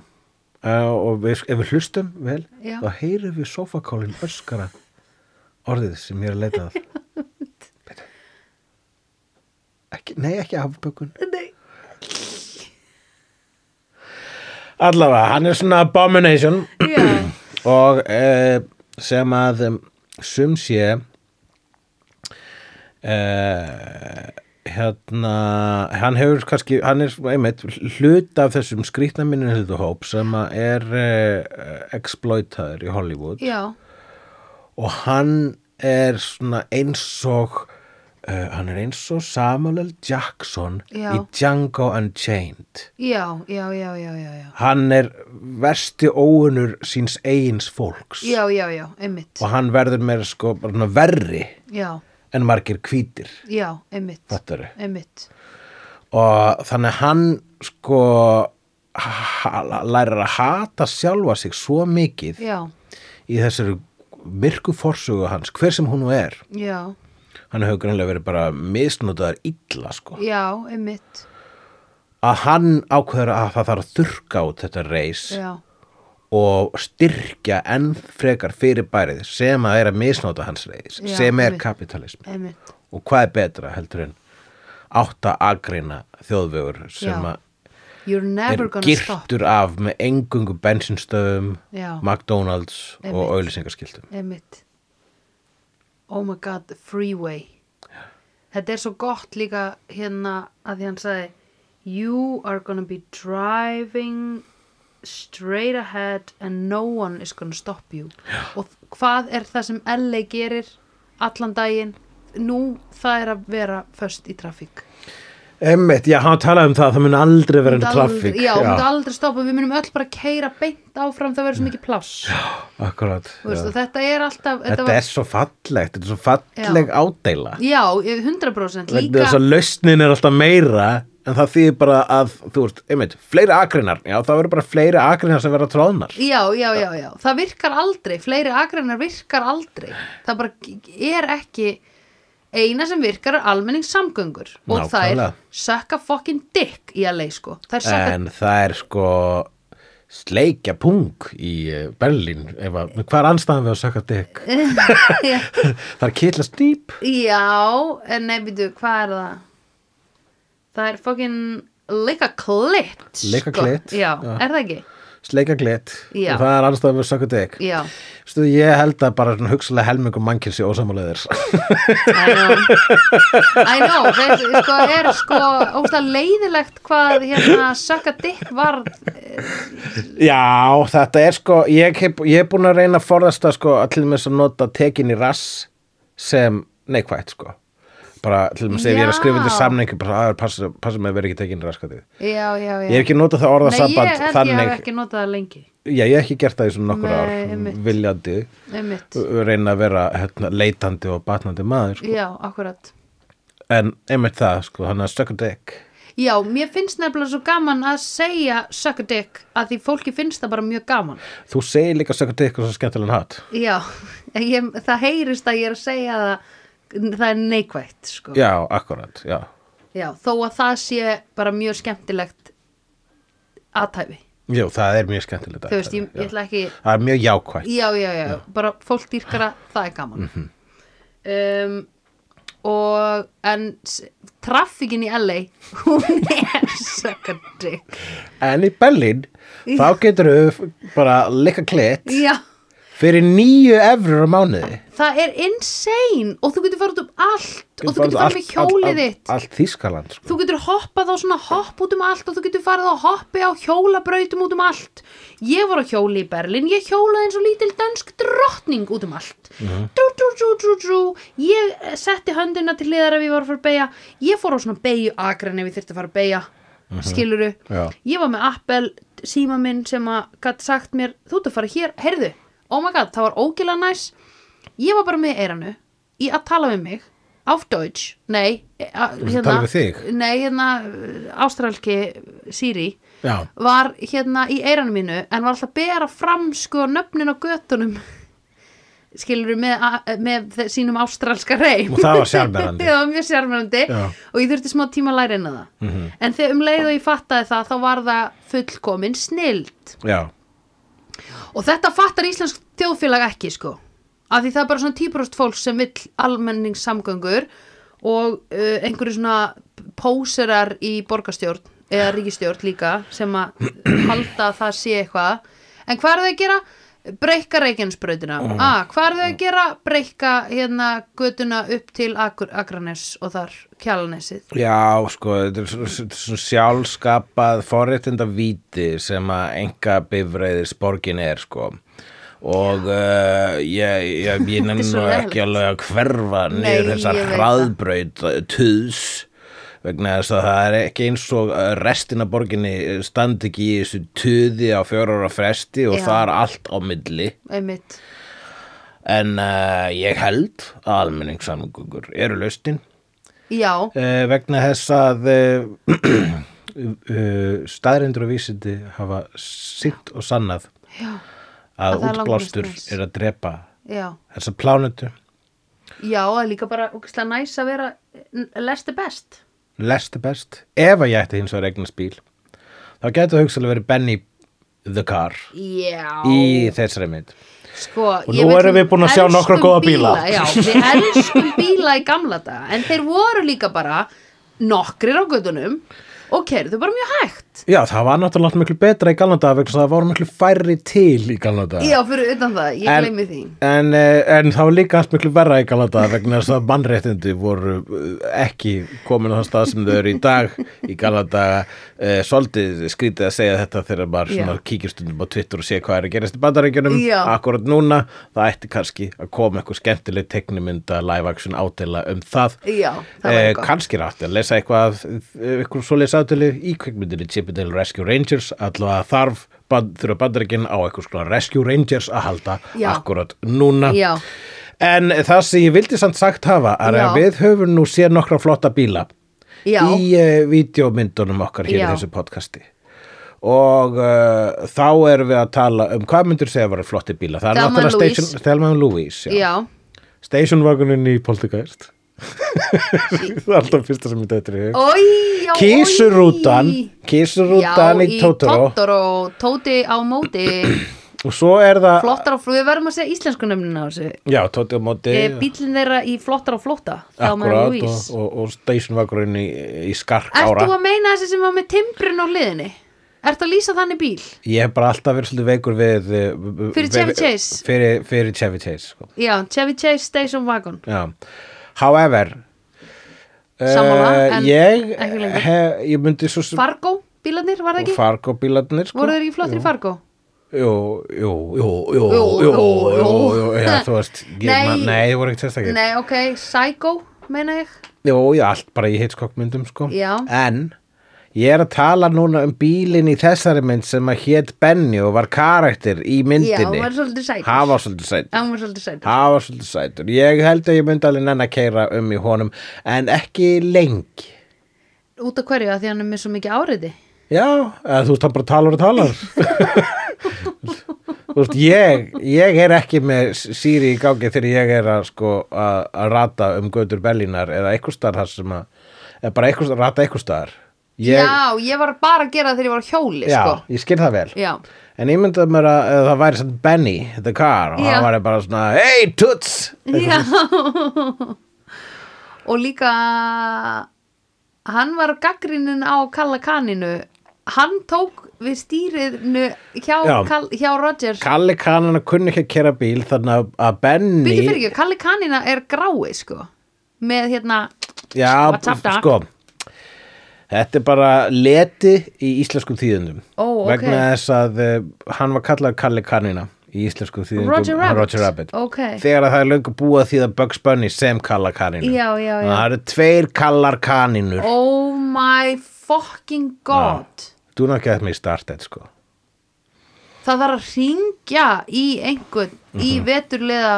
Uh, og við, ef við hlustum vel,
Já.
þá heyrum við sofakálin öskara orðið sem ég er að leita að Bíddu. ekki, nei, ekki afbökun
Nei.
allavega, hann er svona abomination
Já.
og uh, sem að um, sum sé uh, hérna hann hefur kannski, hann er einmitt hlut af þessum skrýtna minni hóp sem að eh, er uh, exploitaður í Hollywood
Já,
og hann er svona eins og uh, hann er eins og Samuel L. Jackson
Já.
í Django Unchained
já, já, já, já, já, já.
hann er versti óunur síns eigins fólks
Já, já, já, einmitt.
og hann verður meira sko bara svona verri
Já,
en margir hvítir
já, einmitt.
fattaru.
Einmitt.
og þannig að hann sko ha- lærir að hata sjálfa sig svo mikið
Já,
í þessari myrku forsögu hans, hver sem hún nú er
já,
hann hefur greinlega verið bara misnotaðar illa sko
já, einmitt.
að hann ákveður að það þarf að þurrka út þetta reis
Já,
og styrkja enn frekar fyrirbærið sem að er að misnota hans reis
Já,
sem er
einmitt.
kapitalismi
einmitt.
og hvað er betra heldur en átta agreina þjóðvegur sem
Já,
að
You're never
er
gonna stop.
girtur af með engungu bensinstöðum,
Já.
McDonalds
Einmitt.
og auðlýsingaskiltum
Einmitt. Oh my god, the freeway. Þetta er svo gott líka hérna að því hann sagði You are gonna be driving straight ahead and no one is gonna stop you. Já. Og hvað er það sem LA gerir allan daginn? Nú það er að vera föst í trafík.
Emmitt, já, hann talaði um það að það mun aldrei vera enn
Hún myndi
traffík
aldrei- Já, hún myndi aldrei stoppa, við munum öll bara keira beint áfram, það verður svo mikið pláss
akkurat
Þú veist,
já.
og þetta er alltaf þetta
Þetta
var,
er svo fallegt, þetta er svo falleg ádeila
Já, ég- 100%
Vegna
líka
þess að lausnin er alltaf meira en það þýðir bara að, þú veist, einmitt, fleiri akreinar, já, það verður bara fleiri akreinar sem verða tróðnar.
Já, já, já, já, það virkar aldrei fleiri agreinar virkar aldrei það bara g- er ekki eina sem virkar er almenningssamgöngur og það
Nákvæmlega.
er sökka fokkin dick í að leið sko það er sökka,
En það er sko sleikja pung í eh, Berlín, ef að, hvað er anstæðan við að sökka dykk? það er kýtlast dýp.
já en nefndu, hvað er það það er fokkin líka klitt
Lick a clit,
sko. já,
já.
er það ekki?
Sleika glit
Já.
og það er anstæðan við að sökka dykk.
Já,
Stu, ég held að bara svona hugsalega helmingur mannkynsi ósamáleðir.
I know I know, það er sko, er sko óslega leiðilegt hvað hérna sökka dikk varð eh,
Já, þetta er sko, ég hef, ég hef búin að reyna að forðast það sko að til dæmis að nota tekin í rass sem neikvægt sko. Bara til dæmis ef ég er að skrifa undir
Já.
samningi, bara "Ah, að passa, passa með að vera ekki tekin í rasskatið.
Já, já, já
Ég hef ekki notað það
Nei,
orðasamband
ég held ég
þannig,
hef ekki notað það lengi
já, ég hef ekki gert það í svona nokkur
Nei,
ár,
einmitt.
viljandi,
Einmitt,
reyna að vera hérna, leitandi og batnandi maður sko.
já, akkurat
En einmitt það sko, hann að stökka dekk.
Já, mér finnst nefnilega svo gaman að segja suck a dick að því fólki finnst það bara mjög gaman
Þú segir líka stökka dekk og svo skemmtilegan hatt.
Já, ég, það heyrist að ég er að segja það það er neikvætt sko.
Já, akkurat, já.
já, þó að það sé bara mjög skemmtilegt aðtæfi
Jú, það er mjög skemmtilegt.
Þú veist, ég,
Já.
ég ætla ekki
Það er mjög jákvætt.
já, já, já, Mhm. bara fólk dýrkara það er gaman um, og en s- traffikin í LA hún er sökkandi
En í Berlín, þá getur þau bara líka klitt
já,
fyrir nýju efrur á mánuði.
það er insane og þú getur farið út um allt og þú getur farið
Allt-
með hjólið
allt-
þitt
Allt Þískaland, sko.
þú getur hoppað á svona hopp út um allt og þú getur farið á hoppi á hjólabrautum út um allt ég var á hjóli í Berlin ég hjólaði eins og lítil dansk drottning út um allt drú, drú, drú, drú, drú ég eh, setti höndina til liðar ef ég var að fara að beigja ég fór á svona beigju akran ef ég þyrfti að fara að beigja mm skiluru
Já.
ég var með Apple síma minn sem að gætt sagt mér þú ert að fara hér, heyrðu oh my god, það var ógila næs ég var bara með eiranu í að tala við mig auf Deutsch, nei e, a,
að tala við þig?
nei, hérna ástralki Siri
Já.
var hérna í eiranu mínu en var alltaf að bera fram sko nöfnin á götunum skilur með, a- með þe- sínum ástralska reym
Og það var sjarmerandi.
það var mjög sjarmerandi
Já. Mhm.
og ég þurfti smá tíma að læra inn að það -hmm. en þegar um leið og ég fattaði það þá var það fullkomin snild
Já.
og þetta fattar íslensk þjóðfélag ekki sko af því það er bara svona típrost fólk sem vill almenningssamgöngur og uh, einhverju svona póserar í borgarstjórn eða ríkistjórn líka sem að halda að það sé eitthvað en hvað er þau að gera? breyka reikinsbrautina ah, hvað er þau að gera? breyka hérna götuna upp til Akur, Akranes og þar Kjalanesið
Já, sko, þetta er svona- svona svona sjálfskapað forréttinda víti sem að enga bifræðis borgin er, sko. og uh, ég, ég, ég nenni
svo
nú ekki alveg að hverfa niður þessar
Nei, ég veit það.
hraðbraut eh, tuðs vegna þess að það er ekki eins og uh, restin af borginni standi ekki í þessu tuði á fjóra ára fresti og
Já.
það er allt á milli
einmitt
en uh, ég held að almenningssamgöngur eru laustin
já,
uh, vegna þess að uh, uh, staðrindur og vísindi hafa sýnt og sannað
já,
að,
það er
útblástur
langmest næs.
er að drepa
já
þessa plánutu
já, það er líka bara ógislega næs að vera lesti best
lestu best ef að ég ætti hins vegar eignast bíl þá getur það hugsalega verið Benny the car
já,
í þessari mynd
sko
Og
ég
nú
veit
erum
um-
við búin að sjá nokkra
elskum
góða bíla.
já, við elskum bíla í gamla daga en þeir voru líka bara nokkrir á gödunum og kerðu bara mjög hægt
Já, það var náttúrulega miklu betra í galna daga vegna þess að það voru miklu færri til í galna daga
já, fyrir utan það, ég
En-
gleymi því
En, eh, en það var líka allt miklu verra í galna daga vegna þess að mannréttindi voru eh, ekki komin á þann stað sem þau eru í dag í galna daga eh, svolítið skrítið að segja þetta þegar maður svona
Já.
kíkir stundum á Twitter og sé hvað er að gerast í bandarækjunum
Já.
akkurat núna, það ætti kannski að koma eitthvað skemmtileg teknimynda live action ádela um það
já, það var
Eh,
eitthvað
kannski er aftur að lesa eitthvað eh, eitthvað svo lesa aftur í kvikmyndinni Chippendale Rescue Rangers allavega þarf band, þurfa bandarækinn á eitthvað skona Rescue Rangers að halda
Já.
akkurat núna
Já.
en það sem ég vildi samt sagt hafa er
Já.
að við höfum nú séð nokkra flotta bíla
Já.
í uh, vídeomyndunum okkar hér
Já.
í þessu podcasti og uh, þá erum við að tala um hvað myndir segja að vera flotti bíla það er
Thelma and
náttúrulega
Louise.
Station, Thelma and Louise já.
já,
Stationwagonin í Poltergeist það er alltaf fyrsta sem ég dættir í hug
oi, já, oi
Kísurútan Kísurútan
já,
í Totoro
Totoro, Tóti á móti
og svo er það
flottar á flóta, við verðum að segja íslensku nöfnina á þessu
já, Totti á móti
e, bílinn þeirra í flottar á flóta þá
Eh,
maður
akkurat og,
Louise
og, og Stationwagonin í, í skark
Ertu
ára
að meina þessi sem var með timbrin á liðinni? Ertu að lýsa þannig bíl?
ég hef bara alltaf verið svolítið veikur við eh, v-
Fyrir
við-
Chevy Chase.
fyrir, fyrir Chevy Chase sko.
Já, Chevy Chase Station Wagon
já. however
Sammála,
eh,
en
ég,
ekki lengur.
hef, ég myndi svo sem
Fargo bílarnir, var það ekki?
Fargo bílarnir sko.
Voru þeir ekki flottir í Fargo?
Jú, jú, jú, jú, jú,
Jú,
jú,
jú,
jú,
jú.
jú, já, þú veist, ég,
Nei.
man, nei, það voru ekkert sérstakir.
Nei, ok, Psycho meina ég
Jú, já, allt bara í Hitchcock myndum, sko.
Já.
En, ég er að tala núna um bílinn í þessari mynd sem að hét Benny og var karakter í myndinni.
Já, hann var svolítið sætur.
Hann var svolítið sætur.
Hann var svolítið sætt
Hann var svolítið sætur. Ég held að ég myndi alveg nenn að keira um í honum, en ekki lengi.
Út af hverju að því hann er með svo mikið áriði
Já, eða, þú veist, hann bara talar og talar. þú veist, ég, ég er ekki með síri í gangi þegar ég er að, sko, að, að rata um götur Berlínar eða eitthvað staðar þar sem að, eða bara eitthvað, rata eitthvað staðar. Ég,
Já, ég var bara að gera það þegar ég var á hjóli
já,
sko.
ég skil það vel.
já,
En ég myndi mér að eða það væri sann Benny, the car, og
Já.
hann væri bara svona, hey, toots!
já. Og líka hann var gaggrinin á Kalla Kaninu hann tók við stýriðnu hjá,
Já.
Kall, hjá Roger
Kalli kannan að kunni ekki að kera bíl, þannig að- að Benny...
Býtu fyrir ekki, Kalli Kanina er grái sko með hérna
Já,
What's up, Doc?
sko Þetta er bara leti í íslenskum þýðundum
Ó, ok.
vegna þess að uh, hann var kallað Kalli Kanina í íslenskum þýðundum
Roger Rabbit,
Roger Rabbit.
Ok,
Þegar að það er löngu búið að þýða Bugs Bunny sem Kalla Kanina
Já, já, já.
Það eru tveir Kallar Kaninur oh.
oh my fucking god
Þú ná ekki að mig startet sko
það þarf að ringja í einhvern í veturlega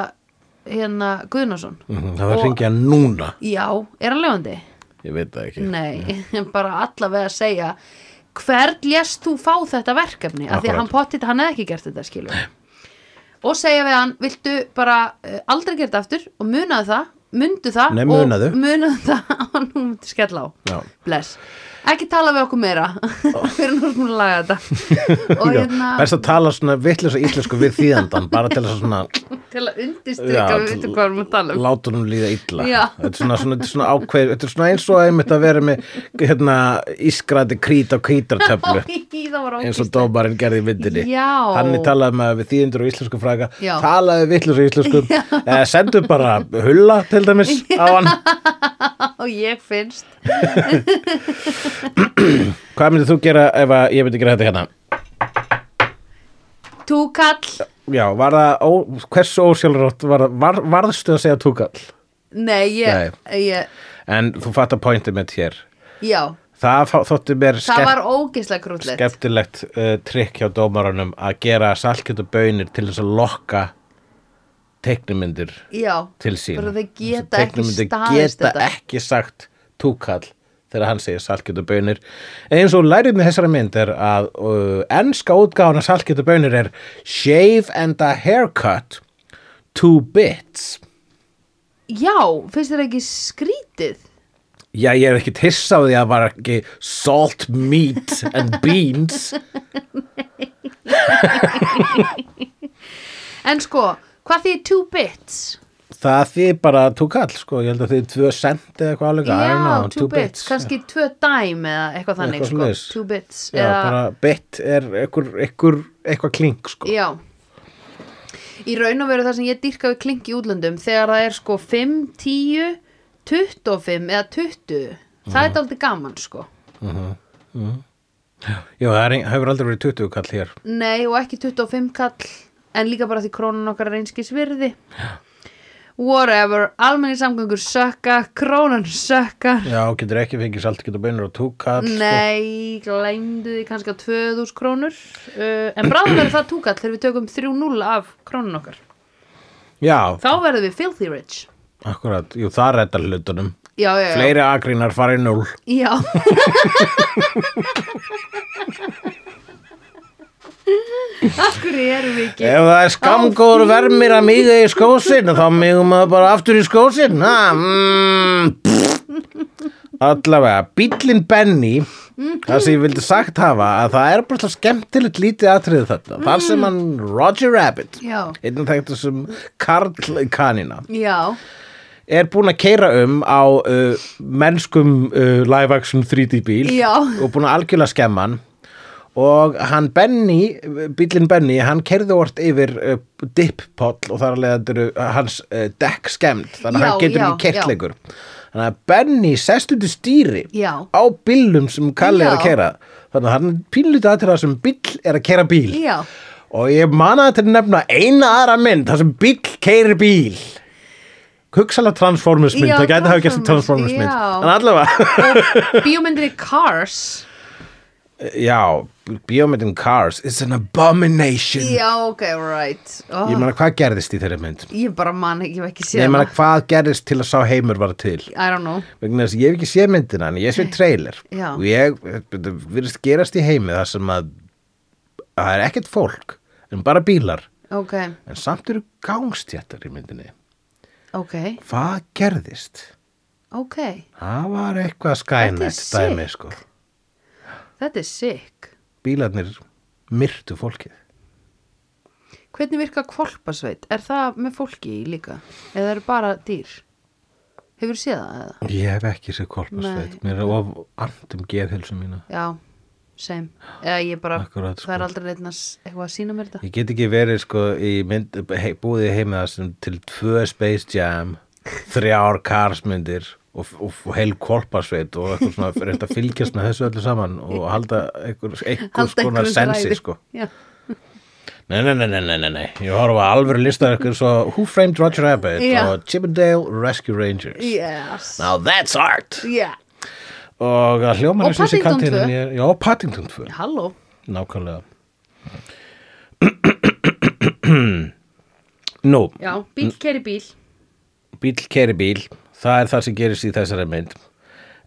hérna Guðnason
Mhm, Það var
Og-
að ringja núna
Já, er hann lefandi?
Ég veit það ekki
Nei, bara allavega að segja hvern lést þú fá þetta verkefni af því
Akkúrat.
að hann pottit, hann hefði ekki gert þetta skilur og segja við hann viltu bara uh, aldrei gera þetta aftur og munaðu það, mundu það
Nei, munaðu.
og munaðu það og nú myndi skella á
Já.
bless, ekki tala við okkur meira
Oh.
fyrir nú erum við að laga þetta og hérna
Best að tala svona vitlis og íslensku við þýðandan bara til þess að svona
til að undirstrika
Já,
við
til-
veitum hvað við erum að tala um
láta hún líða illa
Já.
þetta er svona, svona, þetta er svona ákveð þetta er svona eins og einmitt að vera með hérna, ískrati krít á krítartöflu
það var
eins og
ógist
dómarinn gerði í myndinni
Já.
hann er talað með við þýðindur og íslensku fræga
Já.
talaði vittlus og íslensku eh, sendu bara hulla til dæmis á hann
og ég finnst
hvað myndir þú gera ef að ég myndi gera þetta hérna
túkall
Já, var það, ó, hversu ósjálfrátt var, það- var, varðstu að segja túkall?
Nei, ég, ég
En þú fattar pointið mitt hér.
Já,
Það fá- þótti mér
það
skemmt-
var ógeðslega krúllett
skemmtilegt uh, trikk hjá dómaranum að gera salkjötu bönir til þess að lokka teiknumyndir
Já,
til sín
bara þeir geta
Þessar
ekki
teiknimyndir
staðist
geta
þetta
ekki sagt túkall þegar hann segir salkjötu bönir eins og lærið með þessari mynd er að uh, ennska útgáðan af salkjötu bönir er shave and a haircut two bits
Já, finnst þér ekki skrítið?
Já, ég er ekki tissa á því að það var ekki salt meat and beans
En sko, hvað því two bits?
Það því bara túkall, sko, ég held að þið tvö sent eða eitthvað alveg, I
Já,
don't know,
two, bits, kannski tvö dæm eða eitthvað þannig
Eitthvað
sko,
svoleiðis.
two bits
Já,
eða,
bara bit er ekkur, ekkur, eitthvað klink, sko.
Já Í raun og veru það sem ég dýrka við klink í útlöndum þegar það er sko 5, 10, 25 eða 20 það
Mhm.
er daldið gaman sko
Jú, það er, ein- hefur aldrei verið 20 kall hér.
Nei og ekki 25 kall en líka bara því krónan okkar er einskis virði Whatever, almenni samgöngur sökka, krónan sökkar
Já, getur ekki fengið salt, getur beinur og sko. túkall,
Nei, glemdu því kannski að 2000 krónur uh, en bráðum verður það túkall þegar við tökum 3-0 af krónan okkar
sko. Já,
þá verðum við filthy rich
akkurat, jú, það er þetta hlutunum.
Já, já, já
Fleiri agrínar farið núl.
Já Akkur erum við ekki
Ef það er skamgóður vermir að miga í skósinn, þá migum við bara aftur í skósinn. Ha, mm, pff. Allavega, bíllinn Benny, það sem ég vildi sagt hafa, að það er bara svo skemmtilegt lítið atriði þetta. Þar sem hann Roger Rabbit,
Já.
einn þekktur sem Karl Kanina,
Já,
er búinn að keira um á uh, mennskum uh, live action 3D bíl
Já.
og búinn að algjörlega skemma hann og hann Benny, bílinn Benny hann kerði vort yfir uh, dippoll og þar að leiða eru uh, hans uh, dekk skemmt, þannig að
Já,
hann getur
já,
ekki kert
já.
lengur þannig að Benny sest undir stýri
Já.
á bílum sem Kalli er að
Já.
kera þannig að hann pínlítið að til það sem bíll er að kera bíl
já
og ég manna þetta nefna eina aðra mynd þar sem bíll keiri bíl hugsalega Transformers mynd
Já,
það gæti hafa gerst í Transformers
Transformers,
mynd
já.
en allavega
Bíómyndinni Cars
já, bíómyndin Cars it's an abomination
Já, ok, right oh,
ég manna hvað gerðist í þeirri mynd
Ég bara man ekki, ég hef ekki séð
ég manna
hana.
hvað gerðist til að sá heimur var til
I don't know
vegna þess að ég hef ekki séð myndina en ég hef séð trailer
Já.
og ég þetta virðist gerast í heimi þar sem að að það er ekkert fólk en bara bílar
Ok,
en samt eru gangstjættar í myndinni
ok,
hvað gerðist?
ok
Það var eitthvað
Þetta er
skænet
sick.
dæmi sko.
Þetta er sick
Bílarnir myrtu fólkið.
Hvernig virka kvolpasveit? Er það með fólki í líka? Eða eru bara dýr? Hefur séð það eða?
Ég hef ekki sér kolpasveit.
Nei.
Mér er of andum geðhilsu mína.
Já, same Eða ég bara,
Akkurat,
það er
sko.
aldrei neitt eitthvað að sína mér þetta
Ég get ekki verið sko í mynd, he, búið í heima það sem til tvö Space Jam, þrjár karsmyndir og, og, og heil kolpasveit og eitthvað svona fyrir þetta fylgjast með þessu öllu saman og halda einhver, einhver
Halda
skonar
einhverjum
sensi
þræði.
sko.
Já.
Nei, nei, nei, nei, nei, nei, nei. Ég horfa alvöru listar ykkur svo Who Framed Roger Rabbit
Já.
og Chippendale Rescue Rangers.
Yes.
Now that's art
Yeah.
Og það hljómar
Og
eins og þessi
Paddington
kantinn
2.
er, Já, Paddington 2,
Halló.
nákvæmlega Nú,
Já, bíl keri bíl.
bíl keri bíl Það er það sem gerist í þessari mynd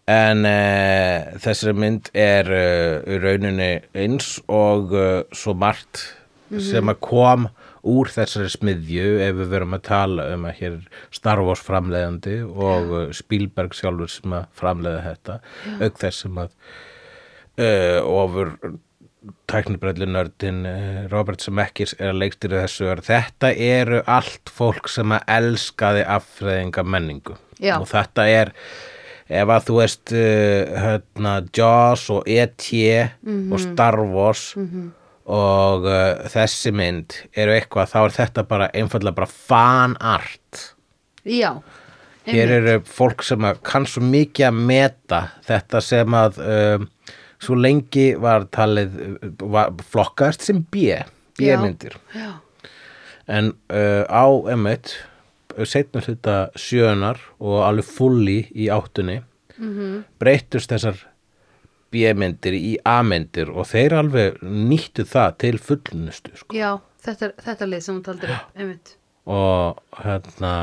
En uh, þessari mynd er uh, í rauninni eins og uh, svo margt sem að kom úr þessari smiðju ef við verum að tala um að hér er Star Wars framleiðandi og uh, Spielberg sjálfur sem að framleiða þetta auk þess sem að uh, ofur tæknibrellunördin Robert Zemeckis er að leikstýra þessu er, þetta eru allt fólk sem að elskaði affræðinga menningu
Já.
og þetta er ef að þú veist uh, hérna, Jaws og E.T. og Star Wars og uh, þessi mynd eru eitthvað þá er þetta bara einfallega bara fanart
Já.
hér eru fólk sem að kann svo mikið að meta þetta sem að um, svo lengi var talið uh, var, flokkaðist sem B
Já.
B-myndir
Já.
en uh, á M1 setna hluta sjöunar og alveg fulli í áttunni -hmm. breyttust þessar B-myndir í A-myndir og þeir alveg nýttu það til fullnustu sko.
já, þetta, er- þetta er lið sem hún taldir upp einmitt
og hérna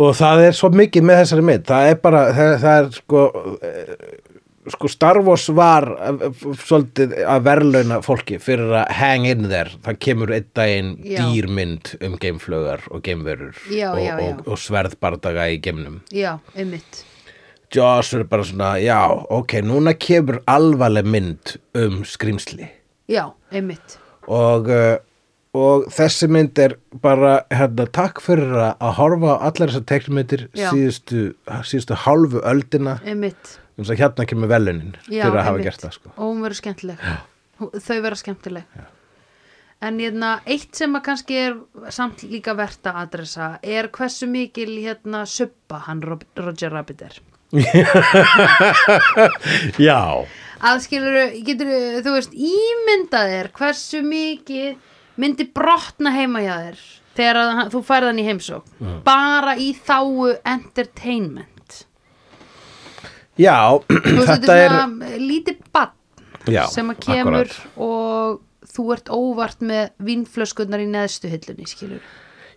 og það er svo mikið með þessari mynd það er bara, það, það er sko eh, sko Star Wars var eh, f- svolítið að verðlauna fólki fyrir að hang in there það kemur einn daginn
Já.
dýrmynd um geimflögar og geimverur
Já,
og,
já, já.
og, og sverðbardaga í geimnum
já, einmitt
Joss er bara svona, já, ok, núna kemur alvarleg mynd um skrýmsli
já, einmitt
og, uh, og þessi mynd er bara hérna, takk fyrir að- að horfa á allar þessar teknumyndir
Já.
síðustu, síðustu hálfu öldina
einmitt
um þess að hérna kemur velunin
já,
fyrir að hafa
einmitt.
gert það sko.
og hún verður skemmtileg Hú- þau verða skemmtileg en hérna, eitt sem að kannski er samt líka verta að adressa er hversu mikil hérna subba hann Rob- Roger Rabbit er
Já,
að skilur, getur þú veist ímyndað þér hversu mikið myndi brotna heima hjá þér þegar að, hann- þú færð hann í heimsók bara í þáu entertainment
já
þú veist,
þetta
þetta er
er
svona lítið bann
Já,
sem að kemur
akkúrat.
og þú ert óvart með vínflöskunnar í neðstu hillunni skilur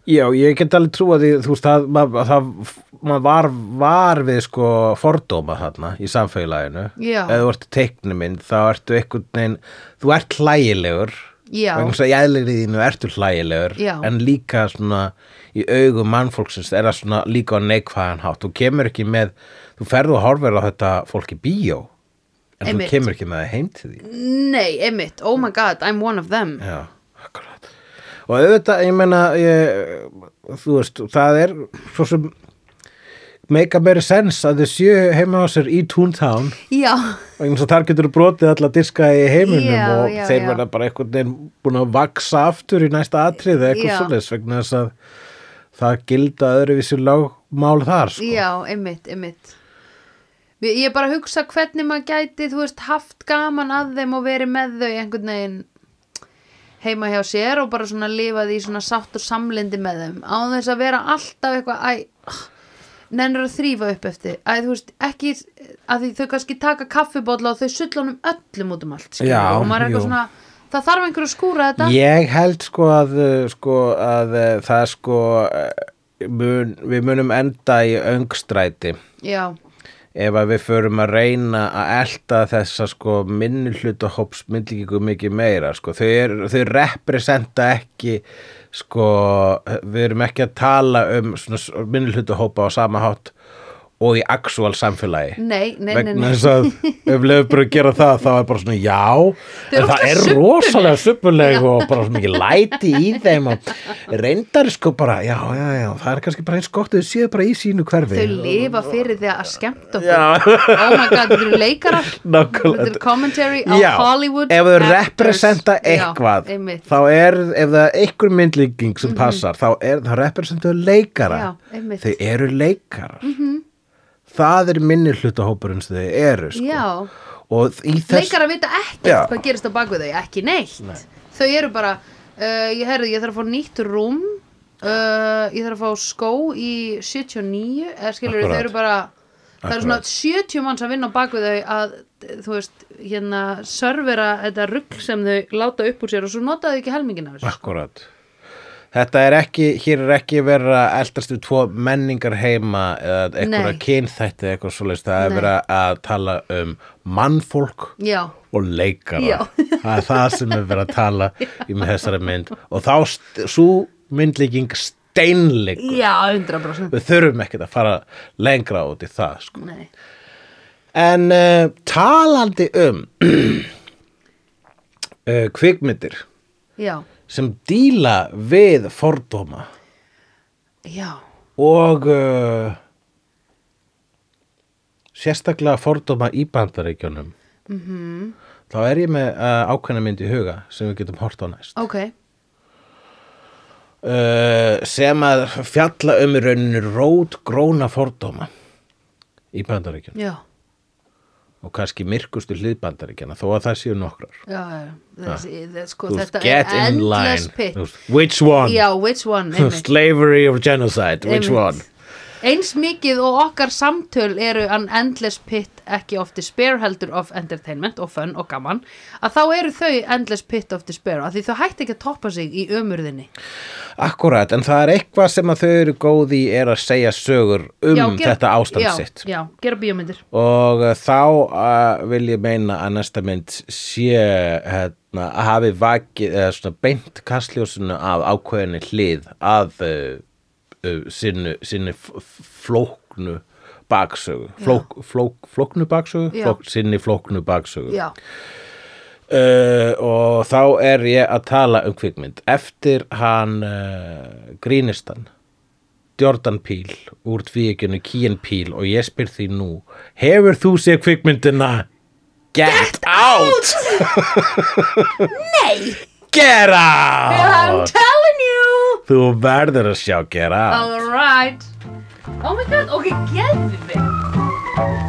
Já, ég get alveg trúa því þú veist, það, mað, það maður var, var við sko fordóma þarna í samfélaginu
Já.
eða þú ert teiknumynd, þá ertu einhvern veginn, þú ert hlægilegur
Já.
vegna þess að í eðlir þínu ertu hlægilegur
Já.
en líka svona í augum mannfólksins er það svona líka á neikvæðan hátt þú kemur ekki með, þú ferðu og horfir á þetta fólk í bíó en
Einmitt.
þú kemur ekki með það heim til því
nei, einmitt, oh my god, I'm one of them
Já, akkurat. Og auðvitað, ég meina, ég, þú veist, það er svo sem make a better sense að þið séu heima á sér í Toontown
já,
vegna svo þar getur þú brotið alla diska í heiminum
Já,
og
já,
þeir
já.
verða bara einhvern veginn búin að vaksa aftur í næsta atrið eða eitthvað
Já.
svoleiðis vegna þess að það gilda öðruvísi lögmál þar sko.
já, einmitt, einmitt Mér- ég er bara að hugsa hvernig maður gæti þú veist, haft gaman að þeim og verið með þau einhvern veginn heima hjá sér og bara svona lifað í svona sátt og samlindi með þeim á þess að vera alltaf eitthvað æ, nennur að þrýfa upp eftir æ, þú veist, ekki að því þau kannski taka kaffibólla og þau sulla honum öllum út um allt skilur,
Já,
og maður er
jú.
eitthvað svona það þarf einhver að skúra þetta
Ég held sko að, uh, sko, að uh, það sko uh, mun, við munum enda í öngstræti
já,
ef að við förum að reyna að elta þessa sko minnulutahóps myndlíkingu mikið meira sko. þau, er, þau representa ekki sko, við erum ekki að tala um minnulutahópa á sama hátt og í actual samfélagi
nei, nei, nei,
vegna
nei.
þess að ef lefur bara að gera það þá er bara svona já
Þau
en það
eru ógeðslega
er
subbuleg.
rosalega suppuleg og bara svona mikið læti í þeim og reyndar sko bara já, já, já, það er kannski bara eins gott að þau séu bara í sínu hverfi
þau lifa fyrir því að skemmta okkur
Já.
oh my god, þetta eru leikarar
Nákvæmlega.
þetta eru commentary á
Já,
Hollywood
ef þau
actors.
representa eitthvað
já, einmitt, Mhm.
þá er, ef það er einhver myndlíking sem passar, þá er, þá representa þau leikara,
Já, einmitt. Mhm.
þau eru leikarar -hmm. það er minni hlutahópurinn sem þau eru sko.
Já.
og í þess
leikarar vita ekkert
sko- Já.
hvað gerist á bakvið þau, ekki neitt þau eru bara uh, ég, herri, ég þarf að fá nýtt rúm uh, ég þarf að fá skó í 79, eða skilur þau
Akkurat.
eru bara það eru svona
Akkurat.
70 manns að vinna á bakvið þau að þú veist, hérna, servera þetta rugg sem þau láta upp úr sér og svo nota þau ekki helmingin af þessu
akkurat þetta er ekki, hér er ekki verið að eldast við tvo menningar heima eða
Nei.
einhverja kynþætti eða eitthvað svoleiðis, það er
Nei.
verið að tala um mannfólk
já,
og leikara
Já.
það er það sem er verið að tala í með þessari mynd og þá st- sú myndlíking steinleik
já, 100%
við þurfum ekkert að fara lengra út í það sko.
Nei.
en uh, talandi um uh, kvikmyndir
Já,
sem díla við fordóma
já,
og uh, sérstaklega fordóma í bandaríkjunum
Mhm.
-hmm. þá er ég með uh, ákveðna mynd í huga sem við getum hort á næst
ok
uh, sem að fjalla um í rauninu rótgróna fordóma í bandaríkjunum
Já,
og kannski myrkustu hliðbandaríkjana þó að það séu nokkrar
já, já, þessi, þessi, sko,
Þú veist,
þetta
get
er
in
endless
line
pit
Þú veist, which one,
já, which one, einmitt
slavery or genocide which
Einmitt.
one
eins mikið og okkar samtöl eru an endless pit ekki of despair heldur of entertainment og fun og gaman að þá eru þau endless pit of despair að því þau hætti ekki að toppa sig í ömurðinni
Akkurat, en það er eitthvað sem að þau eru góð í er að segja sögur um þetta ástand
já,
sitt
já, gera bíómyndir
og uh, þá uh, vil ég meina að næsta mynd sé hérna, að hafi vakið eða svona beint kastljósinu af ákveðinni hlið að uh, uh, sinnu, sinnu f- f- flóknu baksögu flók, flók, flóknu baksögu
Já.
flók, sinni flóknu baksögu
já,
Uh, og þá er ég að tala um kvikmynd eftir hann uh, grínistan Jordan Peele úr tvíekjunu Kían Peele og ég spyr því nú hefur þú séð kvikmyndina Get, Out,
nei,
Get Out
I'm telling you
þú verður að sjá Get Out
alright oh my god, ok, geðum við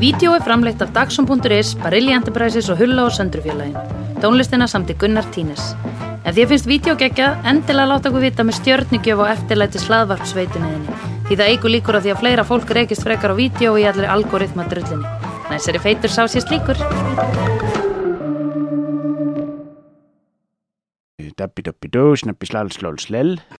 Vídeó er framleitt af Dagsum.is, Barilli Enterprises og Hulla og Söndrufjörlægin. Tónlistina samt í Gunnar Tínes. Ef því finnst vídeo geggja, endilega láta okkur vita með stjörnugjöf og eftirlæti slaðvarpsveituninni. Því það eigur líkur á því að fleira fólk reykist frekar á vídeo í allri algoritma drullinni. Næsari feitur sá sér slíkur.
Dabbi dabbi dó, snabbi slal slal slel